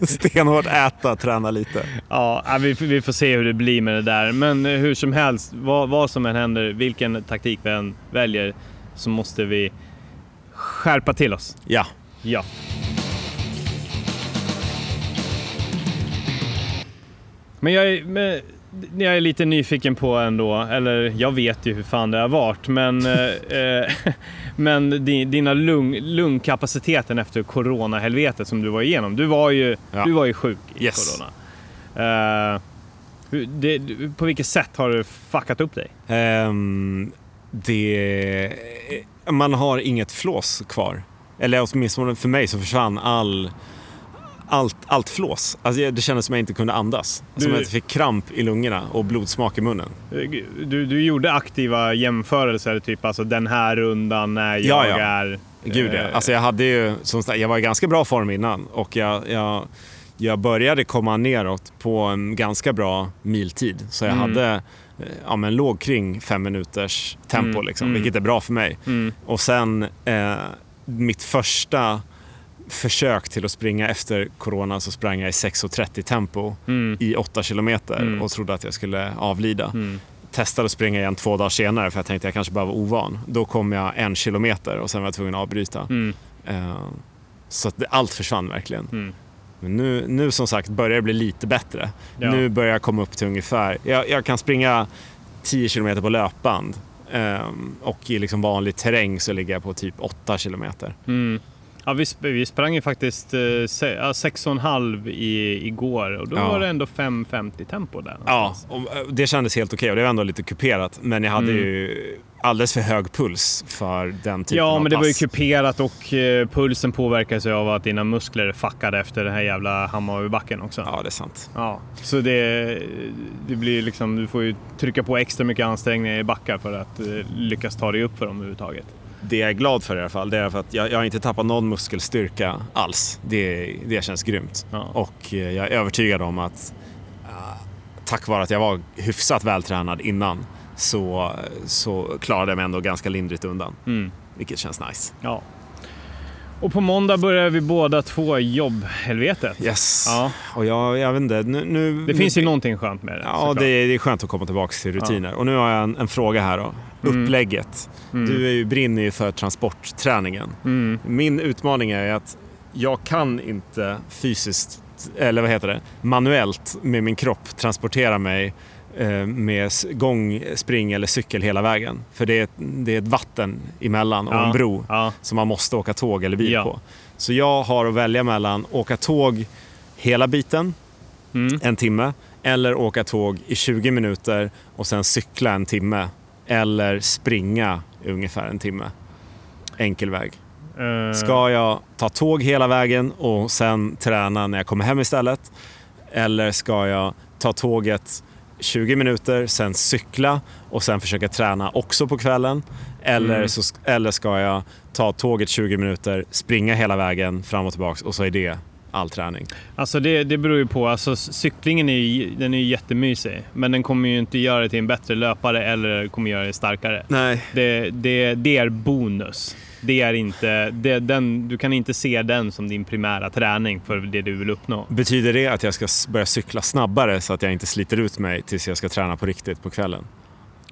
C: <laughs> stenhårt äta, träna lite.
B: Ja, ja, vi, vi får se hur det blir med det där. Men eh, hur som helst, vad, vad som än händer, vilken taktik vi än väljer, så måste vi skärpa till oss.
C: Ja.
B: Ja. Men jag är, men, jag är lite nyfiken på ändå, eller jag vet ju hur fan det har varit, men, <laughs> eh, eh, <laughs> men di- dina lung, lungkapaciteten efter coronahelvetet som du var igenom. Du var ju,
C: Ja.
B: du var ju sjuk i
C: Yes.
B: corona. Eh, hur- det, du- på vilket sätt har du fuckat upp dig?
C: Ehm, det... Man har inget flås kvar. Eller åtminstone för mig så försvann all, allt, allt flås. Alltså jag- det kändes som jag inte kunde andas.
B: Du-
C: Som att jag fick kramp i lungorna och blodsmak i munnen.
B: Eh, Du, du gjorde aktiva jämförelser, typ alltså den här rundan när jag
C: Ja, ja.
B: är...
C: Gud ja.
B: eh,
C: Alltså jag, hade ju, som, sagt, jag var i ganska bra form innan och jag, jag, jag började komma neråt på en ganska bra miltid. Så jag
B: Mm.
C: hade eh, ja, men låg kring fem minuters tempo,
B: Mm,
C: liksom,
B: mm.
C: vilket är bra för mig.
B: Mm.
C: Och sen eh, mitt första försök till att springa efter corona så sprang jag i 6.30 tempo
B: Mm.
C: i 8 kilometer
B: Mm.
C: och trodde att jag skulle avlida.
B: Mm.
C: Testade att springa igen två dagar senare för jag tänkte jag kanske bara var ovan. Då kom jag en kilometer och sen var jag tvungen att avbryta.
B: Mm.
C: Eh, så att det, allt försvann verkligen.
B: Mm.
C: Men nu, nu som sagt börjar det bli lite bättre.
B: Ja.
C: Nu börjar jag komma upp till ungefär, jag, jag kan springa 10 kilometer på löpband ehm, och i liksom vanlig terräng så ligger jag på typ 8 kilometer.
B: Mm. Ja, vi, sp- vi sprang ju faktiskt eh, se- ja, sex och en halv i, igår och då
C: Ja.
B: var det ändå 5.50 tempo där.
C: Ja,
B: någonstans.
C: och eh, det kändes helt okej och det var ändå lite kuperat men jag hade
B: Alltså. Mm.
C: ju alldeles för hög puls för den typen
B: ja
C: av
B: men det var ju
C: typ pass.
B: kuperat och eh, pulsen påverkas ju av att dina muskler är fuckade efter den här jävla Hammarbybacken också. Ja.
C: Ja, det är sant.
B: så det, det blir liksom, du får ju trycka på extra mycket ansträngningar i backar för att eh, lyckas ta dig upp för dem överhuvudtaget.
C: Det jag är glad för i alla fall, det är för att jag, jag har inte tappat någon muskelstyrka alls. Det, det känns grymt.
B: Ja.
C: Och eh, jag är övertygad om att eh, tack vare att jag var hyfsat vältränad innan så, så klarade jag mig ändå ganska lindrigt undan.
B: Mm.
C: Vilket känns nice.
B: Ja. Och på måndag börjar vi båda två i jobbhelvetet.
C: Yes.
B: Ja.
C: Och jag, jag vet inte, nu... nu
B: Det finns ju någonting skönt med det.
C: Ja,
B: såklart.
C: det, är- det är skönt att komma tillbaka till rutiner. Och nu har jag en, en fråga här då.
B: Mm.
C: Upplägget.
B: Mm.
C: Du är ju, brinner ju för transportträningen.
B: Mm.
C: Min utmaning är att jag kan inte fysiskt, eller vad heter det, manuellt med min kropp transportera mig eh, med s- gång, spring eller cykel hela vägen. För det är, ett- det är ett vatten emellan och en bro
B: Ja.
C: som man måste åka tåg eller bil
B: Ja.
C: på. Så jag har att välja mellan åka tåg hela biten,
B: Mm.
C: en timme, eller åka tåg i 20 minuter och sen cykla en timme. Eller springa i ungefär en timme. Enkel väg.
B: Eh,
C: Ska jag ta tåg hela vägen och sen träna när jag kommer hem istället? Eller ska jag ta tåget 20 minuter, sen cykla och sen försöka träna också på kvällen. Eller,
B: Mm.
C: så, eller ska jag ta tåget 20 minuter, springa hela vägen fram och tillbaks och så är det all träning.
B: Alltså det, det beror ju på. Alltså c- cyklingen är ju, den är ju jättemysig, men den kommer ju inte göra dig till en bättre löpare eller kommer göra dig starkare.
C: Nej.
B: Det, det, det är bonus. Det är inte, det, den, du kan inte se den som din primära träning för det du vill uppnå.
C: Betyder det att jag ska s- börja cykla snabbare så att jag inte sliter ut mig tills jag ska träna på riktigt på kvällen?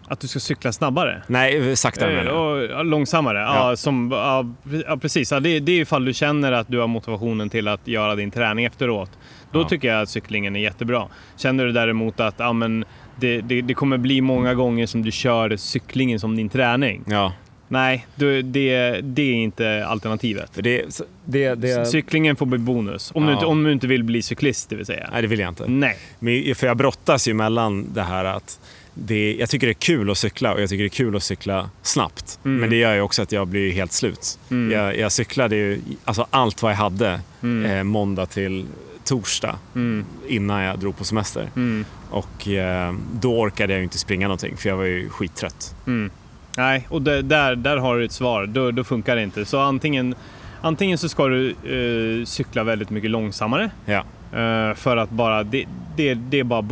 B: Att du ska cykla snabbare.
C: Nej, saktare menar
B: Eh,
C: jag.
B: och, ja, långsammare, ja.
C: Ja.
B: som, ja, pre- ja precis. Ja, det, det är ifall du känner att du har motivationen till att göra din träning efteråt. Då
C: Ja.
B: tycker jag att cyklingen är jättebra. Känner du däremot att ja, men det, det, det kommer bli många gånger som du kör cyklingen som din träning.
C: Ja,
B: Nej, du, det, det är inte alternativet.
C: för det, det, det,
B: Cyklingen får bli bonus. Om, du
C: Ja.
B: inte, om du inte vill bli cyklist, det vill säga.
C: nej, det vill jag inte.
B: Nej.
C: Men- För jag brottas ju mellan det här att det, jag tycker det är kul att cykla och jag tycker det är kul att cykla snabbt.
B: Mm.
C: Men det gör ju också att jag blir helt slut.
B: Mm.
C: Jag, jag cyklade ju alltså allt vad jag hade
B: Mm.
C: eh, måndag till torsdag
B: Mm.
C: innan jag drog på semester.
B: Mm.
C: Och eh, då orkade jag ju inte springa någonting för jag var ju skittrött.
B: Mm. Nej, och det, där, där har du ett svar. Då, då funkar det inte. Så antingen, antingen så ska du eh, cykla väldigt mycket långsammare.
C: Ja.
B: eh, för att bara, det, det, det är bara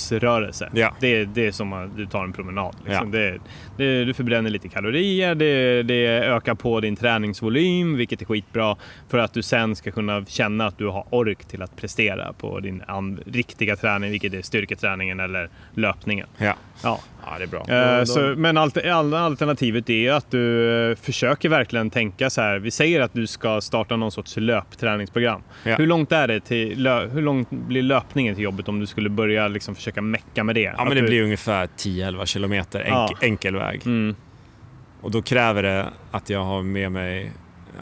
B: bonusrörelse.
C: Ja.
B: Det, det är som att du tar en promenad. Liksom.
C: Ja.
B: Det, det, du förbränner lite kalorier, det, det ökar på din träningsvolym, vilket är skitbra. För att du sen ska kunna känna att du har ork till att prestera på din an- riktiga träning, vilket är styrketräningen eller löpningen.
C: Ja.
B: Ja.
C: ja, det är bra.
B: Eh, så, men allt, all, alternativet är ju att du eh, försöker verkligen tänka så här. Vi säger att du ska starta någon sorts löpträningsprogram.
C: Ja.
B: Hur långt är det till, lö, hur långt blir löpningen till jobbet om du skulle börja liksom försöka mecka med det?
C: Ja,
B: Att
C: men det
B: du,
C: blir ungefär 10-11 kilometer enk-
B: Ja.
C: enkel väg.
B: Mm,
C: Och då kräver det att jag har med mig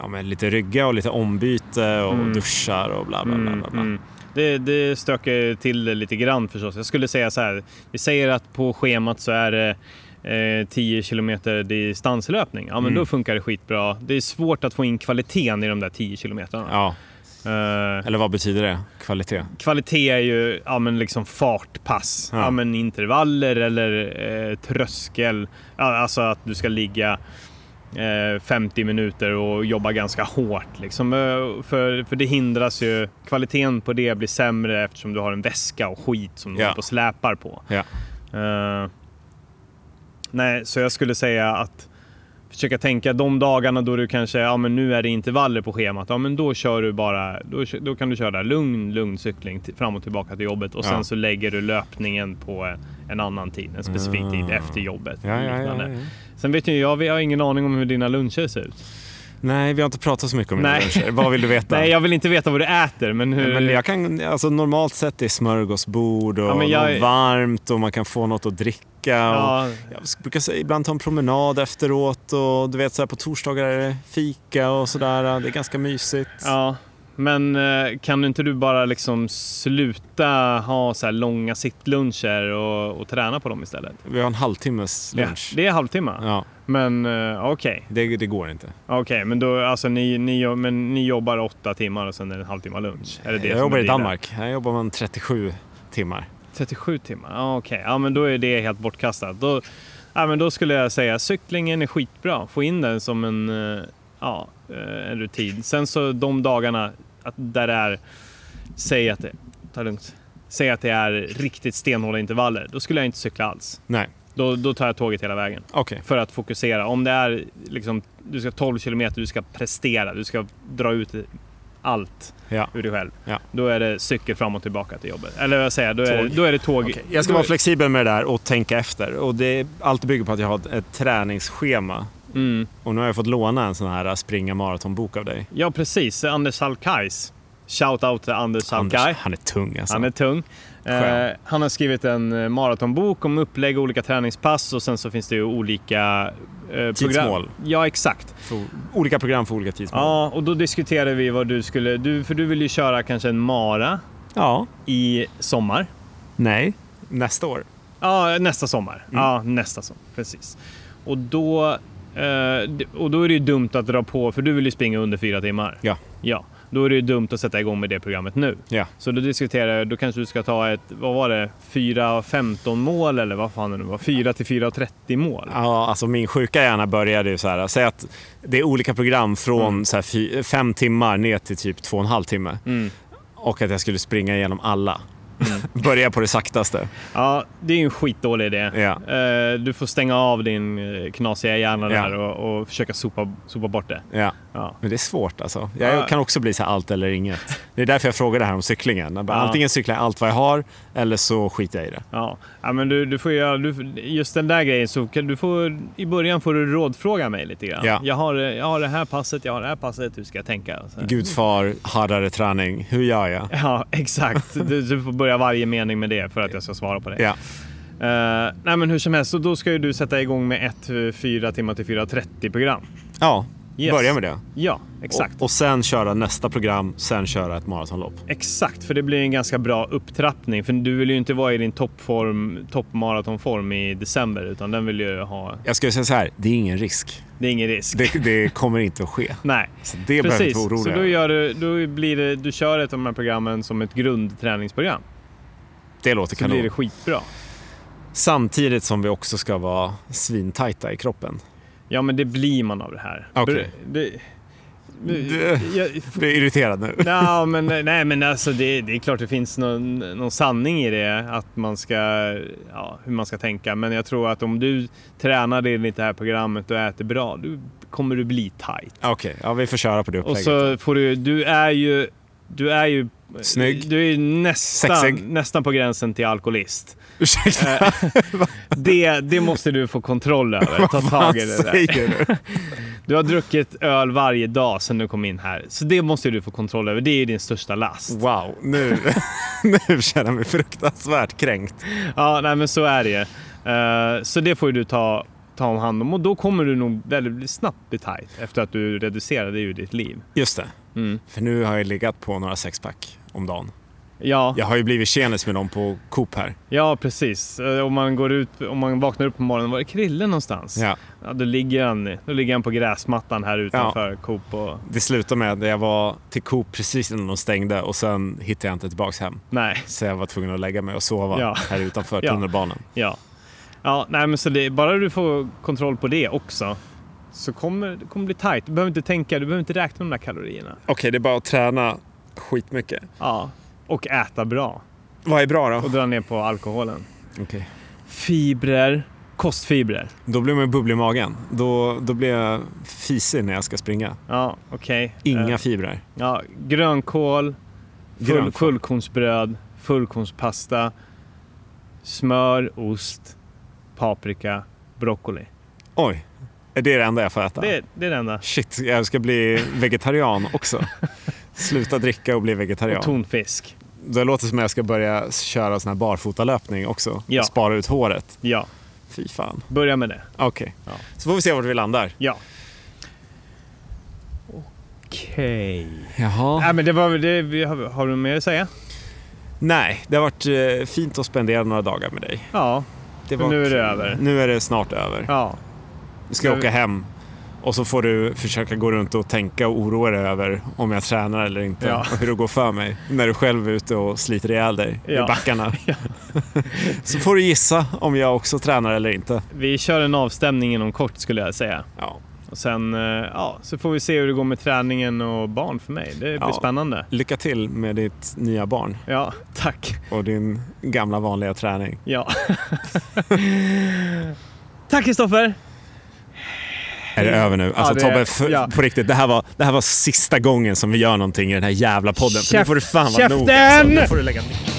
C: ja, men lite rygga och lite ombyte och
B: Mm.
C: duschar och bla bla bla.
B: mm,
C: bla, bla.
B: mm. Det, det stökar till det lite grann förstås. Jag skulle säga så här. Vi säger att på schemat så är det eh, 10 kilometer distanslöpning. Ja, men
C: Mm.
B: då funkar det skitbra. Det är svårt att få in kvaliteten i de där 10 kilometerna.
C: Ja,
B: Eh,
C: eller vad betyder det? Kvalitet?
B: Kvalitet är ju ja, men liksom fartpass, ja.
C: Ja.
B: men intervaller eller eh, tröskel. Ja, Alltså att du ska ligga eh, 50 minuter och jobba ganska hårt. Liksom. Eh, För, för det hindras ju. Kvaliteten på det blir sämre eftersom du har en väska och skit som du
C: Ja.
B: håller på och släpar på.
C: Ja.
B: Eh, nej, så jag skulle säga att försöka tänka de dagarna då du kanske, ja men nu är det intervaller på schemat, ja men då kör du bara, då, kö- då kan du köra lugn, lugn cykling till, fram och tillbaka till jobbet och
C: Ja.
B: sen så lägger du löpningen på en, en annan tid, en specifik
C: Ah.
B: tid efter jobbet.
C: Ja, ja, ja,
B: liknande.
C: ja.
B: Sen vet ju jag, vi har ingen aning om hur dina luncher ser ut.
C: Nej, vi har inte pratat så mycket om mina
B: Nej.
C: luncher. Vad vill du veta?
B: <laughs> Nej, jag vill inte veta vad du äter, men hur...
C: Men jag kan, alltså normalt sett är smörgåsbord och
B: Ja, men jag-
C: något varmt och man kan få något att dricka. Och
B: ja,
C: jag brukar säga, ibland ta en promenad efteråt och du vet så här, på torsdagar är det fika och sådär. Det är ganska mysigt.
B: Ja, men eh, kan inte du bara liksom sluta ha så här långa sittluncher och, och träna på dem istället?
C: Vi har en halvtimmes lunch.
B: Det, det är halvtimme.
C: Ja,
B: Men eh, okej,
C: det, det går inte.
B: okej, men då alltså ni, ni, jo- men ni jobbar åtta timmar och sen är det en halvtimme lunch? Är det det
C: jag
B: som
C: jobbar
B: är
C: i
B: dealen?
C: Danmark. Här jobbar man 37 timmar.
B: 37 timmar, ja okej, ja men då är det helt bortkastat. Då, ja, men då skulle jag säga cyklingen är skitbra, få in den som en, eh, ja, eh, en rutin. Sen så de dagarna att där det är, säg att det, ta lugnt, säg att det är riktigt stenhårda intervaller, då skulle jag inte cykla alls.
C: Nej,
B: Då, då tar jag tåget hela vägen
C: okej.
B: för att fokusera. Om det är liksom, du ska 12 kilometer, du ska prestera, du ska dra ut allt
C: Ja.
B: ur dig själv.
C: Ja.
B: Då är det cykel fram och tillbaka till jobbet. Eller vad jag säger, då är,
C: Tåg.
B: det- då är det tåg.
C: Okej, Jag ska
B: då
C: vara
B: är-
C: flexibel med det där och tänka efter. Och det, allt bygger på att jag har ett, ett träningsschema.
B: Mm.
C: Och nu har jag fått låna en sån här springa maratonbok av dig.
B: Ja, precis. Anders Salkais. Shout out till Anders Salkai.
C: Anders, han är tung alltså.
B: Han är tung.
C: Skön.
B: Eh, han har skrivit en eh, maratonbok om upplägg och olika träningspass och sen så finns det ju olika eh,
C: Tidsmål.
B: Program. Ja, exakt.
C: För, olika program för olika tidsmål.
B: Ja, och då diskuterade vi vad du skulle... Du, för du vill ju köra kanske en mara
C: Ja.
B: i sommar.
C: Nej. Nästa år.
B: Ja, nästa sommar.
C: Mm.
B: Ja, nästa sommar. Precis. Och då, eh, d- och då är det ju dumt att dra på, för du vill ju springa under fyra timmar.
C: Ja.
B: Ja. Då är det ju dumt att sätta igång med det programmet nu.
C: Ja.
B: Så då diskuterar jag, då kanske du ska ta ett, vad var det, 4-15 mål eller vad fan det nu var, 4-4-30 mål.
C: Ja, alltså min sjuka hjärna började ju så här. Säg att det är olika program från så här fy, fem timmar ner till typ två och en halv timme.
B: Mm.
C: Och att jag skulle springa igenom alla. <laughs> Börja på det saktaste.
B: Ja, det är ju en skitdålig idé.
C: Ja.
B: Eh, Du får stänga av din eh, knasiga hjärna
C: Ja.
B: där och, och försöka sopa, sopa bort det.
C: Ja.
B: Ja.
C: Men det är svårt alltså. Jag
B: Ja.
C: kan också bli så här allt eller inget. Det är därför jag frågade här om cyklingen. Jag bara,
B: Ja. Mm.
C: Antingen cyklar jag allt vad jag har eller så skiter jag i det.
B: Ja. ja, men du, du får göra, du, just den där grejen så kan du får, i början får du rådfråga mig lite grann.
C: Ja.
B: Jag, har, eh, jag har det här passet, jag har det här passet, hur ska jag tänka? Så här.
C: Gudfar, hardare träning. Hur gör jag?
B: Ja, <laughs> exakt. Du, du får börja varje mening med det för att jag ska svara på det.
C: Ja,
B: Eh, nej, men hur som helst, så då ska ju du sätta igång med ett eh, fyra timmar till 4.30 program.
C: ja.
B: Yes.
C: börja med det.
B: Ja, exakt.
C: Och, och sen köra nästa program, sen köra ett maratonlopp.
B: Exakt, för det blir en ganska bra upptrappning. För du vill ju inte vara i din toppform, toppmaratonform i december, utan den vill ju ha...
C: Jag skulle säga så här, det är ingen risk.
B: Det är ingen risk.
C: Det, det kommer inte att ske.
B: Nej.
C: Så det behöver du inte
B: Precis,
C: vara
B: så
C: orolig
B: då,
C: över.
B: gör du, då blir det, du kör ett av de här programmen som ett grundträningsprogram.
C: Det låter
B: Så blir
C: kanon.
B: det skitbra.
C: Samtidigt som vi också ska vara svintajta i kroppen.
B: Ja, men det blir man av det här.
C: Okej.
B: Det, det,
C: Det-
B: jag,
C: Du är irriterad nu.
B: <laughs> Ja, men, nej, men alltså det, det är klart det finns någon, någon sanning i det, att man ska, ja, hur man ska tänka. Men jag tror att om du tränar dig enligt det här programmet och äter bra, då kommer du bli tight.
C: Okej, ja, vi får köra på det
B: Och
C: upplägget.
B: så får du, du är ju, du är ju
C: Snygg.
B: Du är ju nästan,
C: Sexig.
B: nästan på gränsen till alkoholist.
C: <laughs>
B: <laughs>
C: Ursäkta,
B: Det, det måste du få kontroll över. Ta tag
C: vad
B: i det där.
C: säger du?
B: Du har druckit öl varje dag sedan du kom in här. Så det måste du få kontroll över. Det är ju din största last.
C: Wow, nu, <laughs> nu känner jag mig fruktansvärt kränkt.
B: Ja, nej men så är det ju. Eh, Så det får ju du ta, ta om hand om och då kommer du nog väldigt snabbt bli tight efter att du reducerade ju ditt liv.
C: Just det,
B: Mm.
C: för nu har jag legat på några sexpack om dagen.
B: Ja,
C: Jag har ju blivit tjenis med dem på Coop här.
B: ja, precis. Eh, Om man, går ut, om man vaknar upp på morgonen, var är Krille någonstans?
C: Ja.
B: Ja, då, ligger han, då ligger han på gräsmattan här utanför Coop. Och,
C: Det slutade med att jag var till Coop precis innan de stängde och sen hittade jag inte tillbaks hem.
B: nej,
C: Så jag var tvungen att lägga mig och sova
B: Ja.
C: här utanför
B: Ja.
C: tunnelbanan.
B: ja. Ja, nej men så det, bara du får kontroll på det också så kommer det kommer bli tight. Du behöver inte tänka, du behöver inte räkna de där kalorierna.
C: Okej, det är bara att träna skitmycket.
B: Ja, och äta bra
C: Vad är bra då?
B: och dra ner på alkoholen.
C: Okej.
B: fibrer, kostfibrer.
C: Då blir man ju bubblig i magen. Då, då blir jag fisig när jag ska springa.
B: Ja, okej.
C: Inga
B: Eh,
C: fibrer.
B: ja, grönkål, full,
C: Grönkål.
B: fullkornsbröd, fullkornspasta, smör, ost, paprika, broccoli.
C: Oj, är det det enda jag får äta?
B: Det, det är det enda.
C: Shit, jag ska bli vegetarian också. Sluta dricka och bli
B: Och
C: vegetarian.
B: tonfisk.
C: Det låter som att jag ska börja köra sån här barfotalöpning också.
B: Ja.
C: Och spara ut håret.
B: Ja,
C: Fy fan.
B: börja med det.
C: Okej.
B: Ja.
C: Så får vi se vart vi landar.
B: Ja. Okej.
C: Jaha.
B: Nej, men det var väl det. vi- Har, har du mer att säga?
C: Nej, det har varit eh, fint att spendera några dagar med dig.
B: Ja.
C: Det
B: Men
C: var
B: nu är det
C: kul.
B: över.
C: Nu är det snart över.
B: Ja.
C: Nu ska jag åka hem och så får du försöka gå runt och tänka och oroa dig över om jag tränar eller inte
B: Ja.
C: och hur det går för mig när du själv är ute och sliter ihjäl dig i
B: <laughs> Ja.
C: backarna. <laughs> så får du gissa om jag också tränar eller inte.
B: Vi kör en avstämning inom kort skulle jag säga.
C: Ja.
B: Och sen eh, ja, så får vi se hur det går med träningen och barn för mig. Det blir
C: Ja.
B: spännande.
C: Lycka till med ditt nya barn
B: Ja, tack.
C: och din gamla vanliga träning. <laughs>
B: Ja. tack Kristoffer!
C: Är det över nu? Alltså
B: det är-
C: Tobbe, för,
B: ja.
C: på riktigt, det här, var, det här var sista gången som vi gör någonting i den här jävla podden. För nu
B: Käft-
C: får du fan vara nog.
B: käften!
C: Nu får du lägga ner.